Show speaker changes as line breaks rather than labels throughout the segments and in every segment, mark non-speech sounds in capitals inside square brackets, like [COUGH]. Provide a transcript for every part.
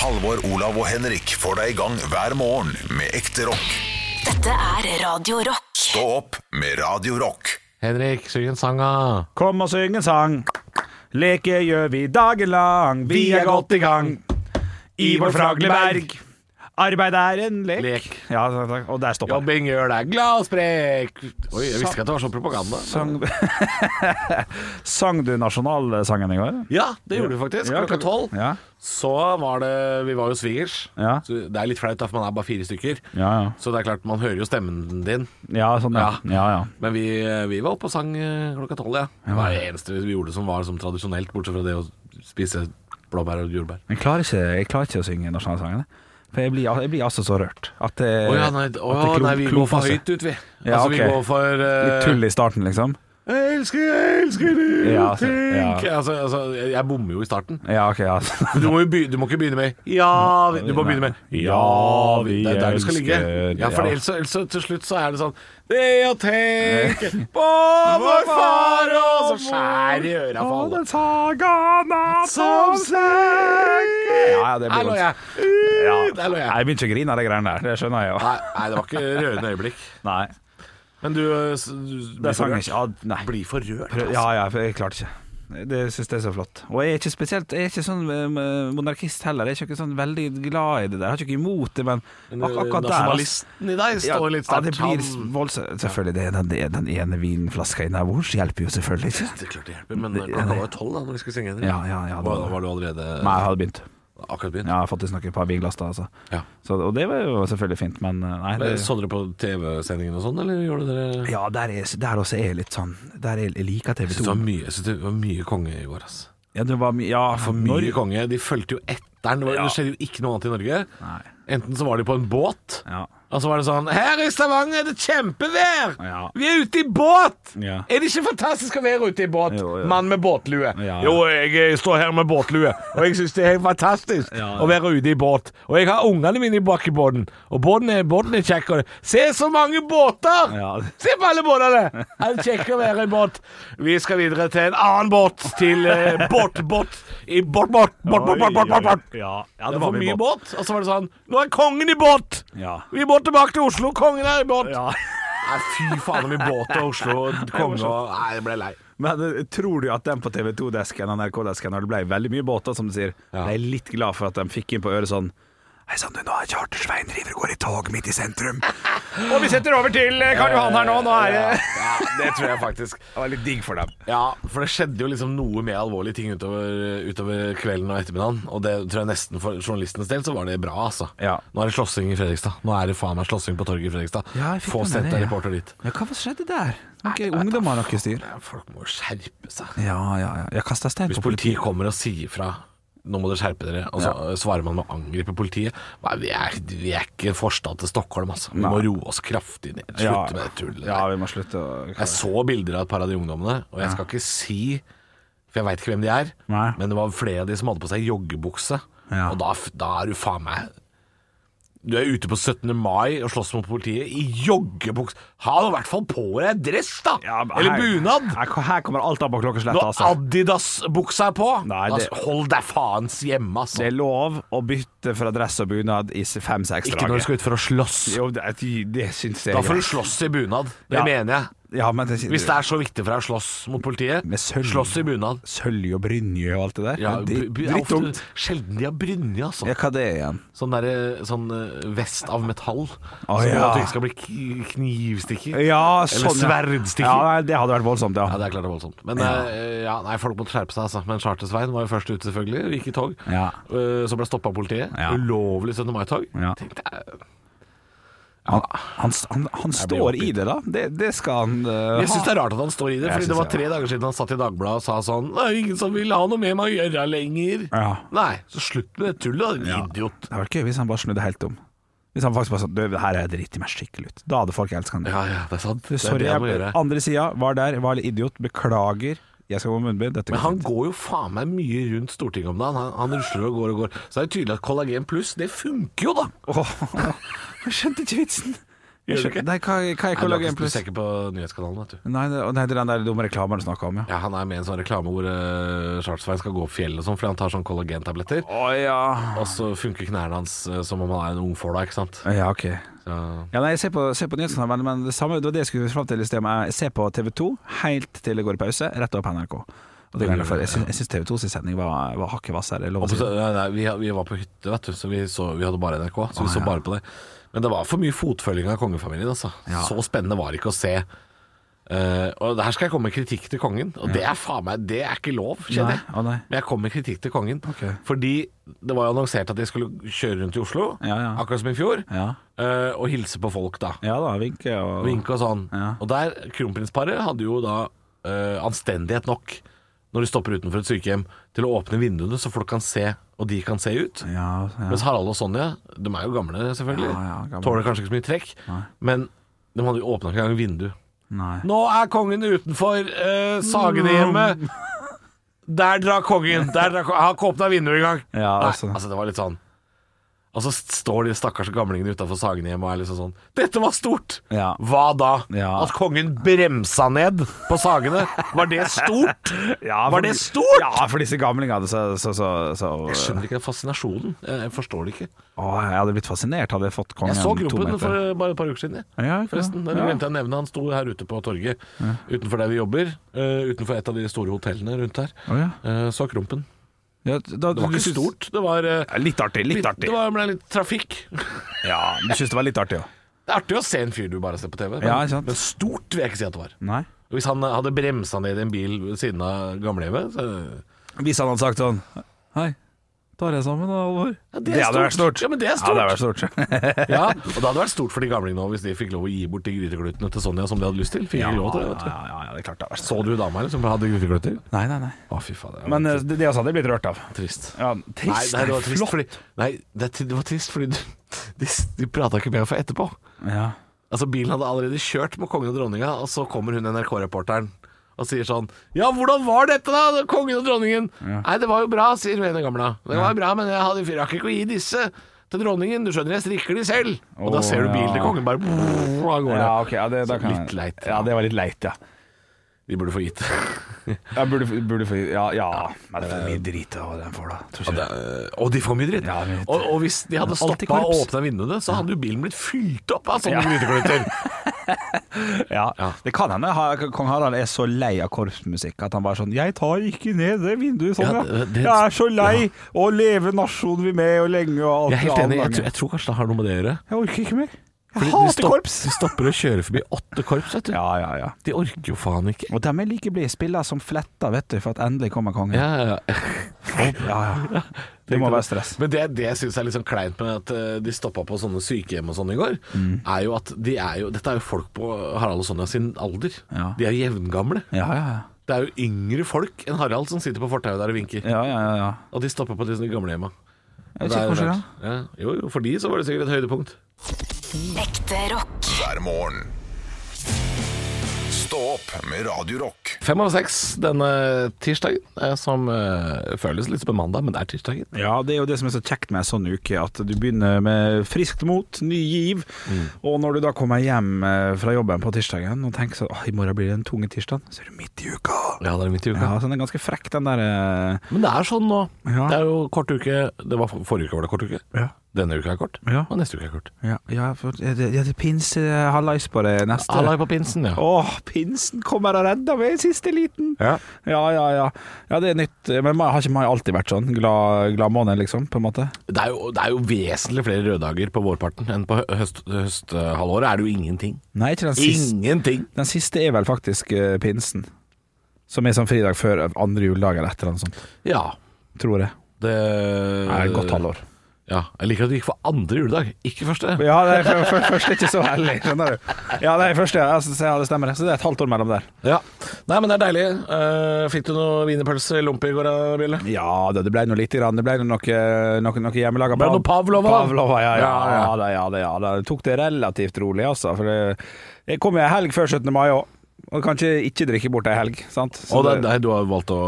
Halvor, Olav og Henrik får deg i gang hver morgen med ekte rock.
Dette er Radio Rock.
Stå opp med Radio Rock.
Henrik, syng en sang, da.
Kom og syng en sang. Leke gjør vi dagen lang. Vi er godt i gang i vår fragle berg. Arbeid er en lek.
Lek.
Ja, takk, takk. Og der stopper den.
Jobbing gjør deg glad og sprek. Oi, jeg visste ikke at det var sånn propaganda.
Sang, [LAUGHS] sang du nasjonalsangen i går?
Ja, det gjorde vi faktisk.
Ja,
Klokka
klokka-
tolv.
ja.
Så var det Vi var jo swingers.
Ja.
Så det er litt flaut, da, for man er bare fire stykker.
Ja, ja.
Så det er klart, man hører jo stemmen din.
Ja, sånn, ja.
Ja.
ja, ja.
Men vi, vi var oppe og sang eh, klokka tolv, ja. Det var det eneste vi gjorde som var som tradisjonelt, bortsett fra det å spise blåbær og jordbær.
Jeg, klarer ikke, jeg klarer ikke å synge nasjonalsangen. jeg. For jeg blir, jeg blir altså så rørt. At det,
Å ja, nei,
at det
å, ja,
klump-
nei, vi går
klumper
for
seg.
høyt ut, vi.
Ja,
altså, vi
ok.
går for
Litt
eh,
tull i starten, liksom.
Jeg elsker, jeg elsker du
Ja, altså, ja.
tenk. Altså, altså, jeg, jeg bommer jo i starten.
Ja, ok, ja. [LAUGHS]
Men Du må, jo be, du må ikke begynne med Ja, vi, du må begynne med Ja, vi Det er der du skal ligge.
elsker-
Ja, for
ja.
ellers, så- ellers så til slutt så er det sånn Det å
[LAUGHS]
tenke på vår far og Så skjær i øra for alle.
den sagaen som sekker Ja, ja, det
Her
blir
lå jeg.
Ja.
Der lå jeg.
Nei, Jeg begynte ikke å grine av de greiene der, det skjønner jeg jo.
Nei, nei, det var ikke rørende øyeblikk.
Nei,
Men du, eh, s- du
det
blir
sang jeg
forrørt.
ikke. Ja, nei.
Blir forrørt.
Prøv-
Altså.
Ja, ja, for jeg klarte ikke. Det syns jeg er så flott. Og jeg er ikke spesielt Jeg er ikke sånn eh, monarkist heller. Jeg er ikke sånn veldig glad i det der. Jeg har ikke imot det, men
Men, eh,
ak akkurat der altså.
Nasjonalisten i deg
ja,
står litt
ja, det
sterkt.
blir
Han-
voldsomt. Selvfølgelig, det er den, det er den ene vinflaska innabords hjelper jo selvfølgelig
[LAUGHS]
ikke.
Det er klart det hjelper, men eh, klokka var jo tolv da når vi skulle synge. Henrik.
Ja, ja, ja, det
var,
var det.
var du allerede
Nei, jeg hadde begynt.
akkurat begynt?
Ja, jeg har fått i snakke et par vinglass da, altså.
Ja.
Så, og det var jo selvfølgelig fint, men eh, nei det,
Men Så dere på TV-sendingen og sånn, eller gjorde dere
Ja, der, er, der også er jeg litt sånn Der er jeg liker TV
Det
2.
var mye, jeg synes det var mye konge i går, ass.
Ja, det var mye Ja,
For mye konge. De fulgte jo etteren. Det, var,
Ja.
det skjedde jo ikke noe annet i Norge.
Nei.
Enten så var de på en båt,
Ja.
og så var det sånn Her i Stavanger er det kjempevær!
Ja.
Vi er ute i båt!
Ja.
Er det ikke fantastisk å være ute i båt?
Jo, ja.
Mann med båtlue.
Ja.
Jo, jeg eh, står her med båtlue, og jeg syns det er helt fantastisk
Ja, ja.
å være ute i båt. Og jeg har ungene mine bak i båten, og båten er, båten er kjekk. og det- Se så mange båter!
Ja.
Se på alle båtene! Det er kjekk å være i båt. Vi skal videre til en annen båt, til eh, båtbåt i båtbåt. Båt, båt, båt, båt, båt, båt.
Ja,
Det var for mye båt. Og så var det sånn Nå er kongen i båt!
Ja.
Vi må tilbake til Oslo, kongen er i båt!
Ja.
Nei, fy faen, om i båt og Oslo og konge og [LAUGHS] Nei, jeg ble lei.
[LAUGHS] Men eh, tror du at den på TV 2-desken og NRK-desken Når det ble veldig mye båter, som du sier
Ja.
Jeg er litt glad for at de fikk inn på øret sånn Hei sann, du, nå er Charter-Svein driver og går i tog midt i sentrum. [LAUGHS] og vi setter over til eh, Karl Johan her nå. Nå er det
Ja, ja, det tror jeg faktisk.
Det var litt digg for dem.
Ja, for det skjedde jo liksom noe mer alvorlige ting utover, utover kvelden og ettermiddagen. Og det tror jeg nesten for journalistenes del så var det bra, altså.
Ja.
Nå er det slåssing i Fredrikstad. Nå er det faen meg slåssing på torget i Fredrikstad. Få sendt en reporter dit.
Ja, hva skjedde der? Okay, ungdommer har noe styr.
Ja, Folk må jo skjerpe seg.
Ja, ja, ja. Jeg kasta stein
Hvis
på
politiet kommer og sier fra nå må dere skjerpe dere, og så eh, svarer man med å angripe politiet. Nei, vi er, vi er ikke forstad til Stockholm, altså. Vi må roe oss kraftig ned. Slutte
Ja.
med det tullet.
Ja,
der.
vi må slutte å
Jeg så bilder av et par av de ungdommene, og jeg skal ikke si For jeg veit ikke hvem de er,
Nei.
men det var flere av de som hadde på seg joggebukse.
Ja.
Og da, f- da er du faen meg Du er ute på 17. mai og slåss mot politiet i joggebukse. Ha nå i hvert fall på deg dress, da!
Ja, men
Eller
her-
bunad!
Her, her kommer alt an på klokkeslettet,
Når
altså.
Adidas-buksa er på,
Nei, det-
altså, hold deg faens hjemme, altså.
Det er lov å bytte fra dress og bunad i fem-seks
ikke når du
dager.
skal ut for å slåss.
Jo, det, det syns jeg
Da får
greit.
du slåss i bunad. Det
Ja.
mener jeg.
Ja, men det,
Hvis det er så viktig for deg å slåss mot politiet,
Med sølv.
slåss i bunad.
Sølje og Brynje og alt det der.
Ja,
det
bu- bu-
er
er ofte
drittungt.
Sjelden de har brynje, altså.
Ja, hva det er igjen?
Sånn, derre- sånn eh, vest av metall.
Å,
som gjør
ja.
at du ikke skal bli k- knivstikker.
Ja, sånn,
Eller
ja.
sverdstikker.
Ja, nei, det hadde vært voldsomt,
Ja,
ja.
det er klart det er voldsomt. Men eh, ja, nei, folk må skjerpe seg, altså. Men Charter-Svein var jo først ute, selvfølgelig. og Gikk i tog.
Ja.
Eh, så ble stoppa av politiet.
Ja.
Ulovlig 17. mai-tog.
Ja.
Tenkte eh, jeg
Han, han, han, han
blir
står i
oppgitt.
det, da. Det, det skal han uh,
Jeg syns det
ha.
er rart at han står i det,
Jeg
Fordi det
synes
var
det,
tre dager siden han satt i Dagbladet og sa sånn Det er jo ingen som vil ha noe med meg å gjøre lenger.
Ja.
Nei, så slutt med det tullet, din idiot.
Det hadde vært gøy hvis han bare snudde helt om. Hvis han faktisk bare sånn Du, det her er driti meg skikkelig ut. Da hadde folk elsket han.
Ja, ja, det er sant.
Du,
det er
sorry,
det jeg må
jeg,
gjøre.
andre sida var der, var litt idiot, beklager. Jeg skal gå med munnbind. Dette
Men
går
han
fint.
går jo faen meg mye rundt Stortinget om dagen. Han, han rusler og går og
[LAUGHS]
går. Så er det tydelig at kollagen pluss, det funker jo, da.
Åh, jeg skjønte ikke vitsen.
Gjør du ikke?
Nei, hva, hva
Nei, du,
er
er
Kollag 1
ikke, du
pluss?
ser ikke på nyhetskanalen, vet du.
Nei, det, nei, det er den der dumme reklamen du snakka om, ja.
Ja, Han er med i en sånn reklame hvor uh, Charlesveien skal gå opp fjellet og sånn, fordi han tar sånn kollagentabletter.
Å ja.
Og så funker knærne hans eh, som om han er en ungfåla, ikke sant.
Ja, ok.
Så,
Ja, nei, jeg ser på, ser på nyhetskanalen, men det samme, det var det jeg skulle fram til i sted. men Jeg ser på TV 2 helt til det går i pause, rett opp NRK. Og det går jeg for. Jeg syns- jeg syns TV 2 sin sending var, var hakket hvassere. er lov å
og
si.
så, nei, nei, vi, vi var på hytte, vet du, så vi, så, vi hadde bare NRK. Så vi så bare på det. Men det var for mye fotfølging av kongefamilien, altså.
Ja.
Så spennende var det ikke å se. Eh, og her skal jeg komme med kritikk til kongen, og det er faen meg Det er ikke lov,
Nei,
kjenner jeg.
å nei.
Men jeg kom med kritikk til kongen.
Ok.
Fordi det var jo annonsert at jeg skulle kjøre rundt i Oslo,
Ja, ja.
akkurat som i fjor,
Ja.
eh, og hilse på folk, da.
Ja da, vinke og
Vinke og sånn.
Ja.
Og der, kronprinsparet hadde jo da eh, anstendighet nok, når de stopper utenfor et sykehjem, til å åpne vinduene så folk kan se, og de kan se ut.
Ja, ja.
Mens Harald og Sonja, de er jo gamle selvfølgelig,
Ja, ja, gamle.
tåler kanskje ikke så mye trekk, men de hadde jo åpna ikke engang vindu.
Nei.
Nå er kongen utenfor uh, Sagenehjemmet. Der drar kongen. Der drar, kon- han har ikke åpna vinduet engang.
Ja,
Nei,
altså.
altså, det var litt sånn Og så står de stakkars gamlingene utafor Sagenhjemmet og er liksom sånn Dette var stort!
Ja.
Hva da?
Ja.
At kongen bremsa ned på Sagene? Var det stort?
[LAUGHS] Ja,
Var
for-
det stort?
Ja, for disse gamlingene så, så, så, så
Jeg skjønner ikke den fascinasjonen. Jeg jeg forstår det ikke.
Å, jeg hadde blitt fascinert hadde jeg fått kongen
Jeg så
to
Gropen
meter.
for eh, bare et par uker siden, jeg.
Ja, ikke sant?
Forresten, det
Ja.
glemte jeg å nevne. Han sto her ute på torget utenfor der vi jobber. eh, utenfor et av de store hotellene rundt her.
Å, ja.
Eh, så Krompen.
Ja, da,
Det var ikke stort. Det var, eh,
Ja, litt artig, litt
litt,
artig.
det var, ble litt trafikk.
Ja, du syns det var litt artig òg?
Det er artig å se en fyr du bare ser på TV, men,
Ja, ikke sant.
men stort vil jeg ikke si at det var.
Nei.
Og Hvis han eh, hadde bremsa ned i en bil ved siden av gamlehjemmet så,
Hvis han hadde sagt sånn Hei, tar jeg sammen, Alvor?
Ja, det er
hadde vært
stort.
stort.
Ja, men [LAUGHS] det er
Ja, det hadde vært stort.
ja, Og det hadde vært stort for de gamlingene òg, hvis de fikk lov å gi bort de gryteglutene til Sonja som de hadde lyst til. Fikk
ja,
ikke lov til det, vet du.
ja, ja, det er klart det hadde vært
Så du dama eller, som hadde grytegluter?
Nei, nei, nei.
Å, fy faen. Det var
Men eh, det, det også hadde jeg blitt rørt av.
trist.
Ja,
Nei,
trist.
nei, det var trist
flott.
fordi, nei, det, det var trist fordi du, de, de prata ikke med meg for etterpå.
Ja.
Altså Bilen hadde allerede kjørt med kongen og dronninga, og så kommer hun NRK-reporteren og sier sånn Ja, hvordan var dette, da? Kongen og dronningen? Nei, det var jo bra, sier hun ene gamla. Det var bra, men jeg hadde rakk ikke å gi disse til dronningen. Du skjønner, jeg strikker de selv. og da
Å,
ser du bilen til
ja.
kongen bare brrr, av gårde.
Ja, ok, ja, det, da
Så
kan jeg-
litt leit,
Ja,
ja.
det var litt leit, ja.
De burde få gitt
Jeg burde, burde få Ja, ja. Men det er mye drit av den får, da. Tror ikke
det.
det.
Og de får mye dritt.
Ja, jeg vet.
og, og hvis de hadde
Alltid
stoppa og
korps.
åpna vinduene, så hadde jo bilen blitt fylt opp av sånne
Ja.
gryteklutter.
Ja. Det kan hende ha- kong Harald er så lei av korpsmusikk at han bare sånn 'Jeg tar ikke ned det vinduet sånn,
Ja,
ja.
det- det-
Jeg er så lei. Å leve nasjonen vi med, og lenge [LAUGHS] og alt
Jeg er helt
det
enig.
andre.
Jeg tror, jeg tror kanskje det har noe med det å gjøre.
Jeg orker ikke mer. Jeg
Fordi de
hater
stopp-
korps!
De stopper å kjøre forbi åtte korps, vet du.
Ja, ja, ja.
De orker jo faen ikke.
Og de er like blide spillere som fletta, vet du, for at endelig kommer kongen.
Ja, ja, ja. [LAUGHS]
ja, ja. Det må være stress.
Men det, det jeg syns er litt sånn kleint med at eh, de stoppa på sånne sykehjem og sånn i går,
Mm.
er jo at de er jo Dette er jo folk på Harald og Sonja sin alder.
Ja.
De er jo jevngamle.
Ja, ja, ja.
Det er jo yngre folk enn Harald som sitter på fortauet der og vinker.
Ja, ja, ja, ja.
Og de stopper på disse gamlehjemma.
Jeg vet
Det er
ikke
jo
hvorfor
rart. Ja. Jo, jo, for de så var det sikkert et høydepunkt.
Ekte rock.
hver morgen. Stå opp med Radio Rock.
Fem av seks denne tirsdagen, eh, som eh, føles litt som en mandag, men det er tirsdagen.
Ja, det er jo det som er så kjekt med en sånn uke, at du begynner med friskt mot, ny giv, og når du da kommer hjem eh, fra jobben på tirsdagen og tenker sånn «Åh, i morgen blir det en tunge tirsdag, så er du midt i uka.
Ja, det er midt i uka.
Ja, så den er ganske frekk, den der eh,
Men det er sånn nå.
Ja.
Det er jo kort uke. Det var for, forrige uke var det kort uke.
Ja.
Denne uka er kort.
Ja.
Og neste uke er kort.
Ja, ja, for, ja, det, ja det er pinse eh, hallais på det neste.
Hallai på pinsen, ja.
Åh, pinsen kommer og redder meg i siste liten.
Ja.
Ja, ja, ja. Ja, det er nytt. eh, Men mai, har ikke mai alltid vært sånn? Glad, glad måned, liksom, på en måte?
Det, er jo, det er jo vesentlig flere røddager på vårparten enn på hø- høst- høsthalvåret. er det jo ingenting.
Nei, ikke den siste.
Ingenting!
Den siste er vel faktisk eh, pinsen. Som er sånn fridag før andre juledag eller et eller annet sånt.
Ja.
Tror jeg.
Det
Det er et
Eh.
godt halvår.
Ja. Jeg liker at du gikk for andre juledag, ikke første.
Ja, det er for, for, først ikke så hellig, skjønner du. Ja, det er første, ja, så- så- ja, det stemmer. det. Så det er et halvt år mellom der.
Ja. Nei, men det er deilig. Eh, fikk du noe wienerpølse i lompe i går, da, Bjelle?
Ja, det, det ble nå lite grann. Det ble nå noe, noe, noe hjemmelaga
Ble det noe Pavlova?
Pavlova, ja, ja,
Ja, ja.
ja, da, ja, da, ja, da. Jeg tok det relativt rolig, altså. For det, jeg kom jo en helg før 17. mai òg. Og kan ikke ikke drikke bort ei helg, sant? Så
Og det,
det-
nei, du har valgt å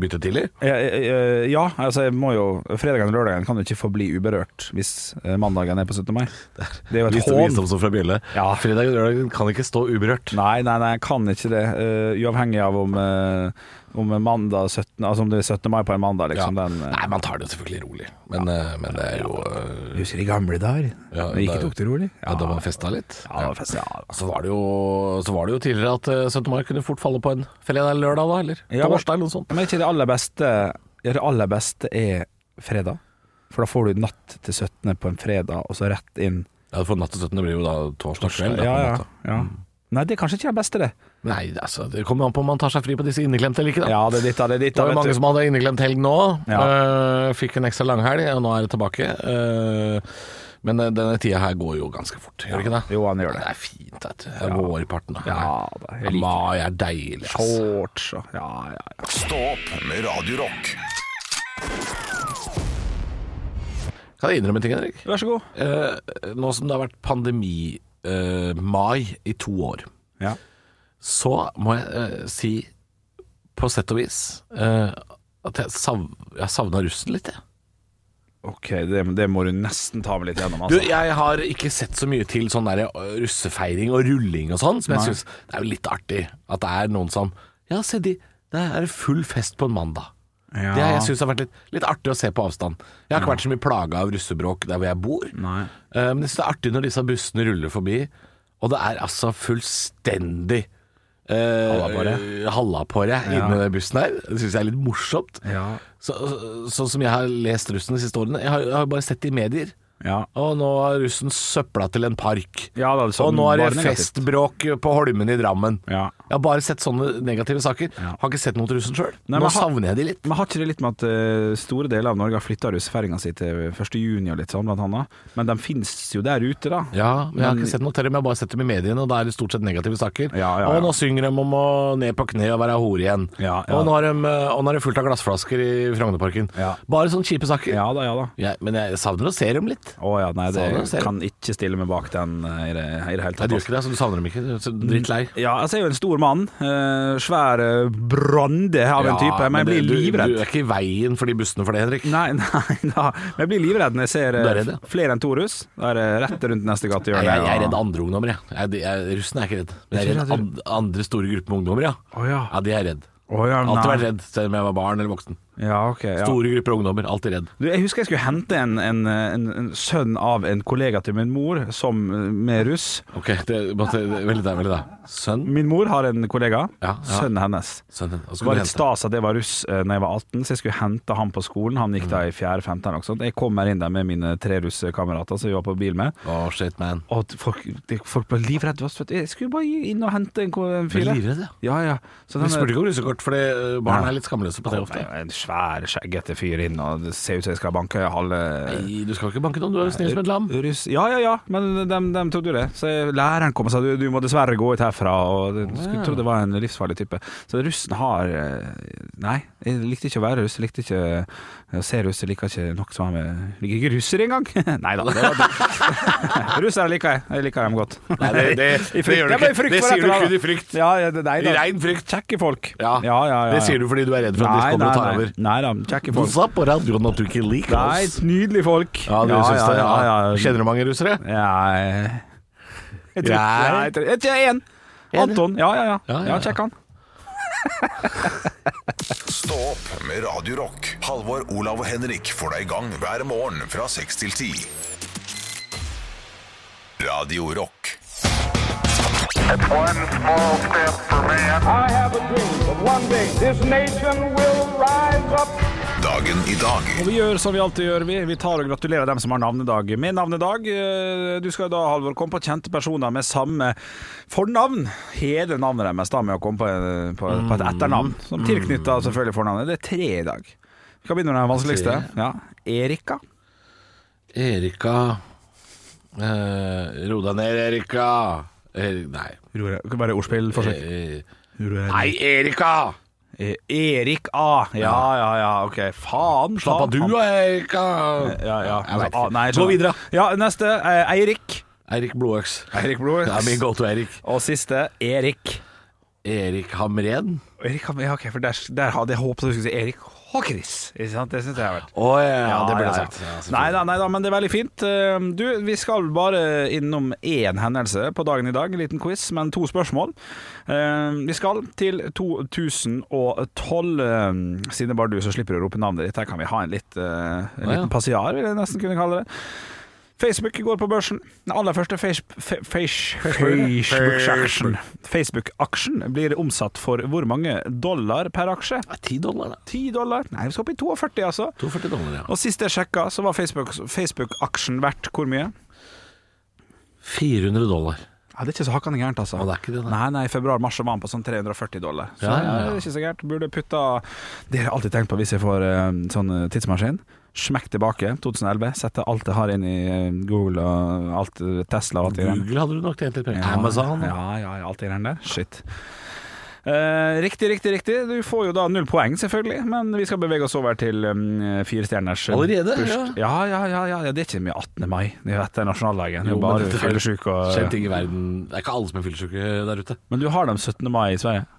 bytte tidlig?
Ja, eh, ja, altså jeg må jo Fredagen og lørdagen kan jo ikke få bli uberørt hvis eh, mandagen er på 17. mai. Det er jo et
Hvis det blir
hån.
som fra bjelle.
Ja.
Fredag og lørdag kan ikke stå uberørt.
Nei, nei, nei, jeg kan ikke det. Eh, uavhengig av om, eh, om mandag 17. Altså om det er 17. mai på en mandag, liksom. Den, eh,
Nei, man tar det jo selvfølgelig rolig, men, eh, men det er jo eh,
jeg husker i gamle dager.
Ja,
Når jeg
det-
ikke tok det rolig.
ja, Da man festa litt.
Ja, det var fest, ja.
Så var, det jo, så var det jo tidligere at eh, 17. mai kunne fort falle på en fredag eller lørdag, da, eller?
Ja,
på
men-
bursdag eller noe sånt.
Men er ikke det aller beste ja, Det aller beste er fredag. For da får du natt til 17. på en fredag, og så rett inn.
Ja, For natt til 17. blir jo da torsdag kveld. Da,
Ja,
på en
ja,
måte. Mm.
ja. Nei, det er kanskje ikke det beste, det.
Nei, altså, det kommer an på om man tar seg fri på disse inneklemte eller ikke, da.
Ja, det er ditt, da, det er ditt.
Det
da,
var jo
vet du.
mange som hadde inneklemt helg nå.
Ja.
Eh, fikk en ekstra langhelg, og nå er det tilbake. Eh, men eh, denne tida her går jo ganske fort, gjør det ikke det?
Jo, han gjør det.
Det er fint, vet du. Det er vårparten. da.
Ja, da, jeg
Ja,
liker
Mai er deilig, ass.
Shorts og ja, ja, ja.
Stå opp med Radio Rock.
Kan jeg innrømme en ting, Henrik?
Vær så god.
Eh, nå som det har vært pandemi-mai i to år,
Ja.
så må jeg eh, si, på sett og vis, eh, at jeg, sav jeg savna russen litt, jeg.
Ok, det, det må du nesten ta med litt gjennom,
Du,
altså.
jeg har ikke sett så mye til sånn der ø, russefeiring og rulling og sånn, som jeg
Nei.
syns det er jo litt artig at det er noen som Ja, se de, der er det full fest på en mandag.
Ja.
Det har jeg synes har vært litt, litt artig å se på avstand. Jeg har ikke vært så mye plaga av russebråk der hvor jeg bor,
Nei.
Eh, men jeg syns det er artig når disse bussene ruller forbi, og det er altså fullstendig
Halla på
uh,
det.
halla på det inni den bussen her. Det syns jeg er litt morsomt.
Ja.
Så, så- sånn som jeg har lest russen de siste årene. Jeg har, jeg har bare sett det i medier.
Ja.
Og nå har russen søpla til en park.
Ja, da, sånn
og nå er
var det
det
negativt.
festbråk på Holmen i Drammen.
Ja.
Jeg har bare sett sånne negative saker. Har ikke sett noe til russen sjøl.
Nei,
Nå
men ha-
savner jeg de litt.
Men har ikke det litt med at eh, store deler av Norge har flytta russefeiringa si til 1. juni og litt sånn, blant annet? Men de fins jo der ute, da.
Ja, men jeg har
Men-
ikke sett noe til dem. Jeg har bare sett dem i mediene, og da er det stort sett negative saker.
Ja, ja, ja.
Og nå synger de om å ned på kne og være hore igjen.
Ja, ja.
Og nå har de, eh, og nå er det fullt av glassflasker i Frognerparken.
Ja.
Bare sånne kjipe saker.
Ja da, ja da.
Jeg- men jeg savner å se dem litt.
Å ja, nei, det
Sa du, ser du.
kan ikke stille meg bak den eh, i det, i det hele
Nei,
tatt.
du gjør ikke det, så du savner dem ikke. Du er så Drittlei.
Ja, altså jeg er jo en stor mann. eh, svær eh, brande av en type. Men jeg blir
det- du,
livredd.
Du er ikke i veien for de bussene for det, Henrik.
[LAUGHS] Nei, nei da. Men jeg blir livredd når jeg ser eh,
Du er redd, ja.
flere enn to russ. Da er det rett rundt neste
Nei,
gatehjørne.
jeg, jeg er redd andre ungdommer, jeg. jeg, de- jeg russen er ikke redd. Men jeg
Er
er
ikke
redd
redd
and, andre store grupper med ungdommer, ja.
Å ja.
Ja, de er jeg redd.
Å ja,
Alltid
nei.
vært redd, selv om jeg var barn eller voksen.
Ja, ok. Ja.
Store grupper ungdommer, alltid redd.
Du, jeg husker jeg skulle hente en, en, en, en sønn av en kollega til min mor, som med russ.
Ok, det, måtte, det, veldig der, veldig der. Sønn?
Min mor har en kollega,
Ja, ja.
sønnen hennes.
Sønn. Og så
Det var
skulle
litt
du hente.
stas at jeg var russ eh, Når jeg var 18, så jeg skulle hente han på skolen. Han
Mm.
gikk da i 4.-5. eller noe sånt. Jeg kommer inn der med mine tre russekamerater som jeg var på bil med.
Å, shit, man.
Og at folk, det, folk ble livredde. hva spør- Jeg skulle bare inn og hente en, ko- en
Blir
fyr.
livredd, ja. eh,
Ja, ja. Så
Du
den-
spurte ikke om russekort, fordi ø, barn
Nei.
er litt skamløse på det
Kom,
ofte.
jeg, en svær, skjeggete fyr inn, og det ser ut som jeg skal banke halve
Nei, du skal ikke banke noen, du er jo snill som et lam.
Russ. Ja, ja, ja, men de, de trodde jo det. Så læreren kom og sa du, du må dessverre gå ut herfra, og de skulle tro det var en livsfarlig type. Så russen har eh, Nei, jeg likte ikke å være russ, jeg likte ikke å se russ, jeg liker ikke nok som han med Liker ikke russere engang! [LAUGHS] nei da. det var- Russere liker jeg, jeg liker dem godt. [LAUGHS]
Nei, det, det, [LAUGHS]
I
det
frykt.
gjør du
Ja, men i
ikke.
frykt
Det
for
sier du
dette,
kun
da.
i frykt.
Ja, ja, nei
I
da.
rein frykt.
Kjekke folk.
Ja.
ja, ja, ja.
Det sier du fordi du er redd for at de
Nei,
kommer og tar
nei,
over.
nei. nei da, kjekke
Du
folk.
sa på radioen at du ikke liker
Nei,
oss.
nydelige folk.
Ja, du syns det? Ja,
Kjenner
Kjenner du mange russere?
du Ja, jeg tror
Nei.
Nei, jeg tror- jeg tror én. Anton. Ja, ja,
Ja,
ja.
ja,
Ja, sjekk han.
Stå opp med Radio Rock. Halvor, Olav og Henrik får deg i gang hver morgen fra seks til ti. Radio Rock.
One small step for man. I have a dream that one day this nation will rise up.
Dagen i dag.
Og vi gjør som vi alltid gjør, vi. Vi tar og gratulerer dem som har navnedag med navnedag. Eh, Du skal da, Halvor, komme på kjente personer med samme fornavn. Hele navnet deres da med å komme på, eh, på, på et etternavn. Som tilknytta selvfølgelig fornavnet. Det er tre i dag. Vi kan begynne med den vanskeligste. Ja. Erika.
Erika eh, Ro deg ned, Erika. Eri- nei.
Bare ordspillforsøk.
Eh, nei, Erika!
E- Erik A. Ja, ja, ja, ok. Faen.
Slapp
faen,
av, du
faen.
og Erika.
Ja, ja.
eh, Jeg vet
Ah,
ikke.
nei, jeg
Gå
skjønner.
videre.
Ja, neste. eh, Eirik.
Eirik Blodøks.
Eirik
Det er min go to, Eirik.
Og siste Erik.
Erik Hamren.
Erik, ja, ok, for der, der hadde jeg håpet at du skulle si Erik Håkris. Ikke sant? Det syns jeg har vært
Å ja, det ble
ja,
sagt.
ja. nei da, nei da, men det er veldig fint. Eh, Du, vi skal bare innom én hendelse på dagen i dag. En liten quiz, men to spørsmål. Eh, Vi skal til 2012. eh, Siden det er bare du som slipper å rope navnet ditt, her kan vi ha en, litt, eh,
Å, ja.
en liten passiar, vil jeg nesten kunne kalle det. Facebook går på børsen. Den aller første Facebook-aksjen Facebook blir omsatt for hvor mange dollar per aksje?
Ti dollar, da.
10 dollar? Nei, vi skal opp i 42, altså.
42 dollar, ja.
Og sist jeg sjekka, så var Facebook- Facebook-aksjen verdt hvor mye?
400 dollar.
Ja, Det er ikke så hakkande gærent, altså.
Å, det er ikke det, nei.
nei, nei, I februar-mars var den på sånn 340 dollar. Så
Ja, ja, ja.
det er ikke så gærent. Burde putta Det har jeg alltid tenkt på hvis jeg får eh, sånn eh, tidsmaskin. Smekk tilbake 2011, sette alt jeg har inn i eh, Google og alt eh, Tesla og alt det greiene.
Google hadde du nok tjent litt penger.
Ja,
Amazon.
Ja, ja, ja alt det greiene der. Shit. Eh, riktig, riktig, riktig. Du får jo da null poeng, selvfølgelig. Men vi skal bevege oss over til um, firestjerners eh,
Allerede?
bursd- Ja, ja, ja, ja, ja. Det er ikke mye 18. mai. Det vet jeg, nasjonaldagen.
Jo,
Jo,
men
bare
dette-
fyllesyk
Skjedd
og
ting i verden. Det er ikke alle som er fyllesyke der ute.
Men du har dem 17. mai i Sverige?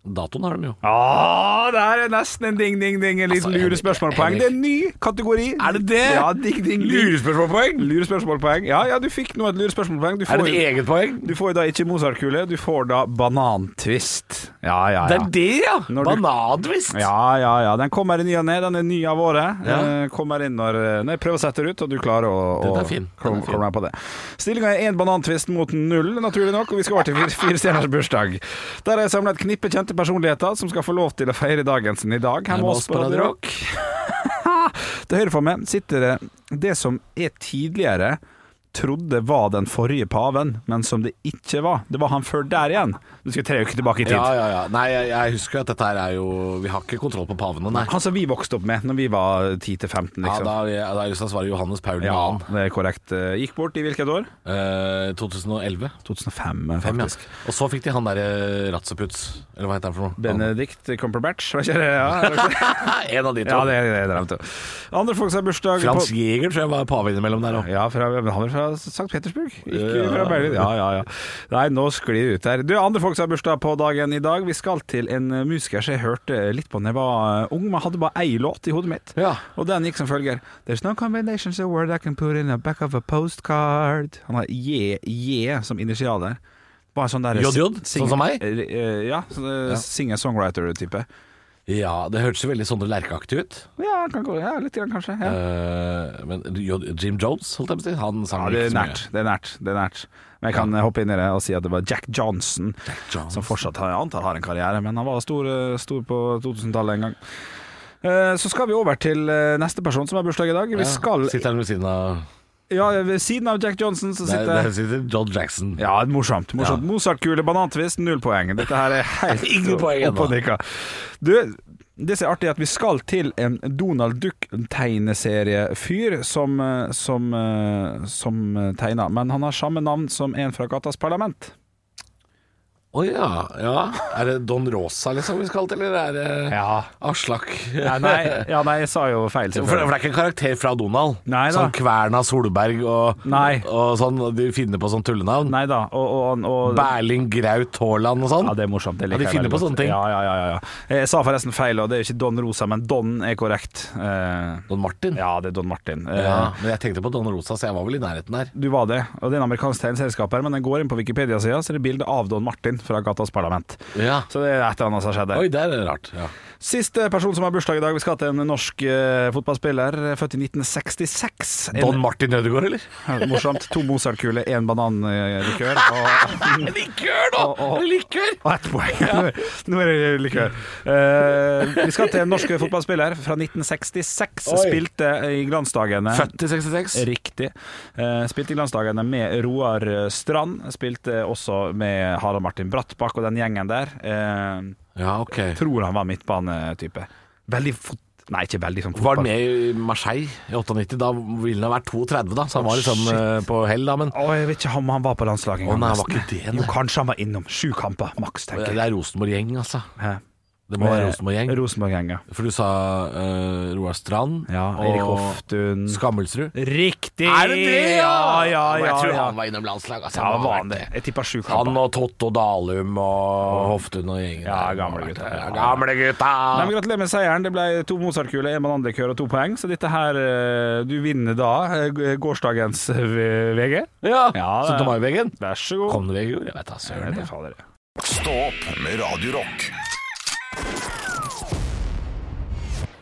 Datoen har de jo.
Ah, det er nesten en ding, ding, ding. En
Altså,
liten
Henrik,
lurespørsmålpoeng.
Henrik.
Det er en ny kategori.
Er det det?
Ja, ding, ding, ding. Lurespørsmålpoeng? Lurespørsmålpoeng. Ja, ja, du fikk nå et lurespørsmålpoeng. Du
Er
får
det
jo-
et eget poeng?
Du får jo da ikke Mozart-kule, du får da banantvist. Ja, ja,
Det
ja.
er det, ja!
Når du-
Banantvist!
Ja, ja, ja. Den kommer i ny og ne. Den er ny av året.
Ja.
Eh, Kommer inn når, når jeg prøver å sette det ut, og du klarer å, å
Den er fin. Den er fin.
komme deg på det. Stillinga er én banantvist mot null, naturlig nok, og vi skal over til fire- fire stjerners bursdag. Der er jeg samla et knippe kjente personligheter som skal få lov til å feire dagen sin i dag. Her med oss på Radio Rock. Til høyre for meg sitter det det som jeg tidligere trodde var den forrige paven, men som det ikke var. Det var han før der igjen. Du skal tre uker tilbake i tid.
Ja, ja, ja. Nei, jeg, jeg husker jo at dette her er jo Vi har ikke kontroll på pavene, nei.
Han som vi vokste opp med når vi var 10-15,
Ja,
liksom.
da, ja, da er Øystein svaret Johannes Paul 2.
Ja, det er korrekt. Eh, Gikk bort i hvilket år?
Eh, 2011.
2005, eh,
Fem, ja.
faktisk.
Og så fikk de han derre Ratzeputz, eller hva heter han for noe?
Benedikt Cumberbatch, var ikke det?
[LAUGHS]
Ja,
Han- en av de to.
ja det er det jeg drømte om. Andre folk som har bursdag
Frans
på
Jæger tror jeg var pave innimellom der òg.
ja, fra, men han er fra St. Petersburg, ikke
Ja.
fra Berlin. Ja, ja, ja. Nei, nå sklir det ut her. Du, andre folk som har bursdag på dagen i dag. Vi skal til en eh, musiker som jeg hørte litt på da jeg var eh, ung, men hadde bare ei låt i hodet mitt.
Ja.
Og den gikk som følger There's no combinations of word I can put in the back of a postcard Han har J, J som initial der Bare sånn der
J, J,
sing-
sånn som meg?
eh, eh, Ja, sånn, eh, singer-songwriter-type
ja, det hørtes jo veldig Sondre Lerche-aktig ut.
ja, kan, gå- ja, litt grann kanskje ja.
Eh, men jo- Jim Jones, holdt jeg på å si, han sang liksom
Ja,
vel
det
ikke
er
så
nært, det er nært, det er nært Men jeg kan eh, hoppe inn i det og si at det var Jack Johnson
Johnson.
Som fortsatt har, jeg antar har en karriere Men han var stor, eh, stor på 2000-tallet en gang Eh, Så skal vi over til eh, neste person som har bursdag i dag Vi
mye.
skal,
Sitter han ved siden av
ja, ved siden av Jack Johnson så
Der,
sitter
der sitter John Jackson.
Ja, morsomt. morsomt.
Ja.
Mozartkule, banantvist, null poeng. Dette her
[LAUGHS]
er helt
Ingen poeng
opp og
ennå.
nikka. Du, det som er artig, er at vi skal til en Donald Duck-tegneseriefyr som, eh, som, eh, som eh, tegner, men han har samme navn som en fra Gatas Parlament.
Å ja, ja. Er det Don Rosa liksom vi skal til, eller er det
Ja.
Aslak?
Ja, nei,
[LAUGHS]
ja, nei, jeg sa jo feil,
For, for det
selvfølgelig.
er ikke en karakter fra Donald?
Nei da.
Sånn Kverna Solberg og,
Nei.
og sånn, og de finner på sånn tullenavn?
Nei da, og, og, og
Berling Graut Haaland og sånn?
Ja, det er morsomt. Det
Ja, de
liker jeg
finner på
veldig godt.
sånne ting.
Ja, ja, ja, ja, ja. Jeg sa forresten feil, og det er jo ikke Don Rosa, men Don er korrekt.
[LAUGHS]
Eh,
Don Martin?
ja, det er Don Martin. Eh,
Ja, men jeg tenkte på Don Rosa, så jeg var vel i nærheten der.
Du var det, og det er en amerikansk tegneselskap her, men den går inn på Wikipedia-sida, så er det bilde av Don Martin fra Gatas Parlament.
Ja.
Så det er et eller annet som har skjedd der.
Oi, der er det rart. Ja.
Siste person som har bursdag i dag, vi skal til en norsk eh, fotballspiller, født i 1966. En-
Don Martin Ødegaard, eller?
[LAUGHS] Morsomt. To Mozart-kuler, én bananlikør og,
[LAUGHS] Likør,
Og- og-
Likør!
og ett poeng. Nå er- Nå er det likør. Eh, vi skal til en norsk fotballspiller fra 1966.
Oi.
Spilte i glansdagene.
Født i 66.
Riktig. Eh, spilte i glansdagene med Roar eh, Strand. Spilte også med Harald Martin Brattbakk og den gjengen der. Eh,
Ja, ok.
tror han var midtbanetype. Veldig fot... Nei, ikke veldig sånn
Var
fotball.
han med i Marseille i 98? Da ville han vært 32, da, så han var liksom eh, på hell, da. Men
Å, jeg vet ikke om han var på landslaget
Å, nei,
nesten.
var ikke det, nei.
Jo, kanskje han var innom. Sju kamper maks,
det
tenker jeg.
er Rosenborg-gjeng, altså.
Hæ?
Det må være Rosenborg-gjeng.
Rosenborg-gjeng, ja.
For du sa eh, Roar Strand
Ja, Erik
og
Hoftun
Skammelsrud.
Riktig!
ja?
Ja, ja,
Og
ja.
Jeg tror
ja.
han var innom landslaget. Altså,
Ja,
Han
var
har
han
vært
det? Jeg tippa sju
Han
kamper.
og Totto Dalum og Hoftun og gjengen.
Ja,
der.
gamle gutta.
Ja, gamle gutta.
Nei, men Gratulerer med seieren. Det ble to Mozart-kuler, en banandekør og to poeng. Så dette her eh, Du vinner da eh, gårsdagens eh, VG.
Ja,
Ja, det-
17. mai-veggen.
Vær så god.
Kom det vegg, jo? Jeg vet da
Jeg
søren.
vet
jeg.
da fader, jeg.
Stå opp med Radio Rock.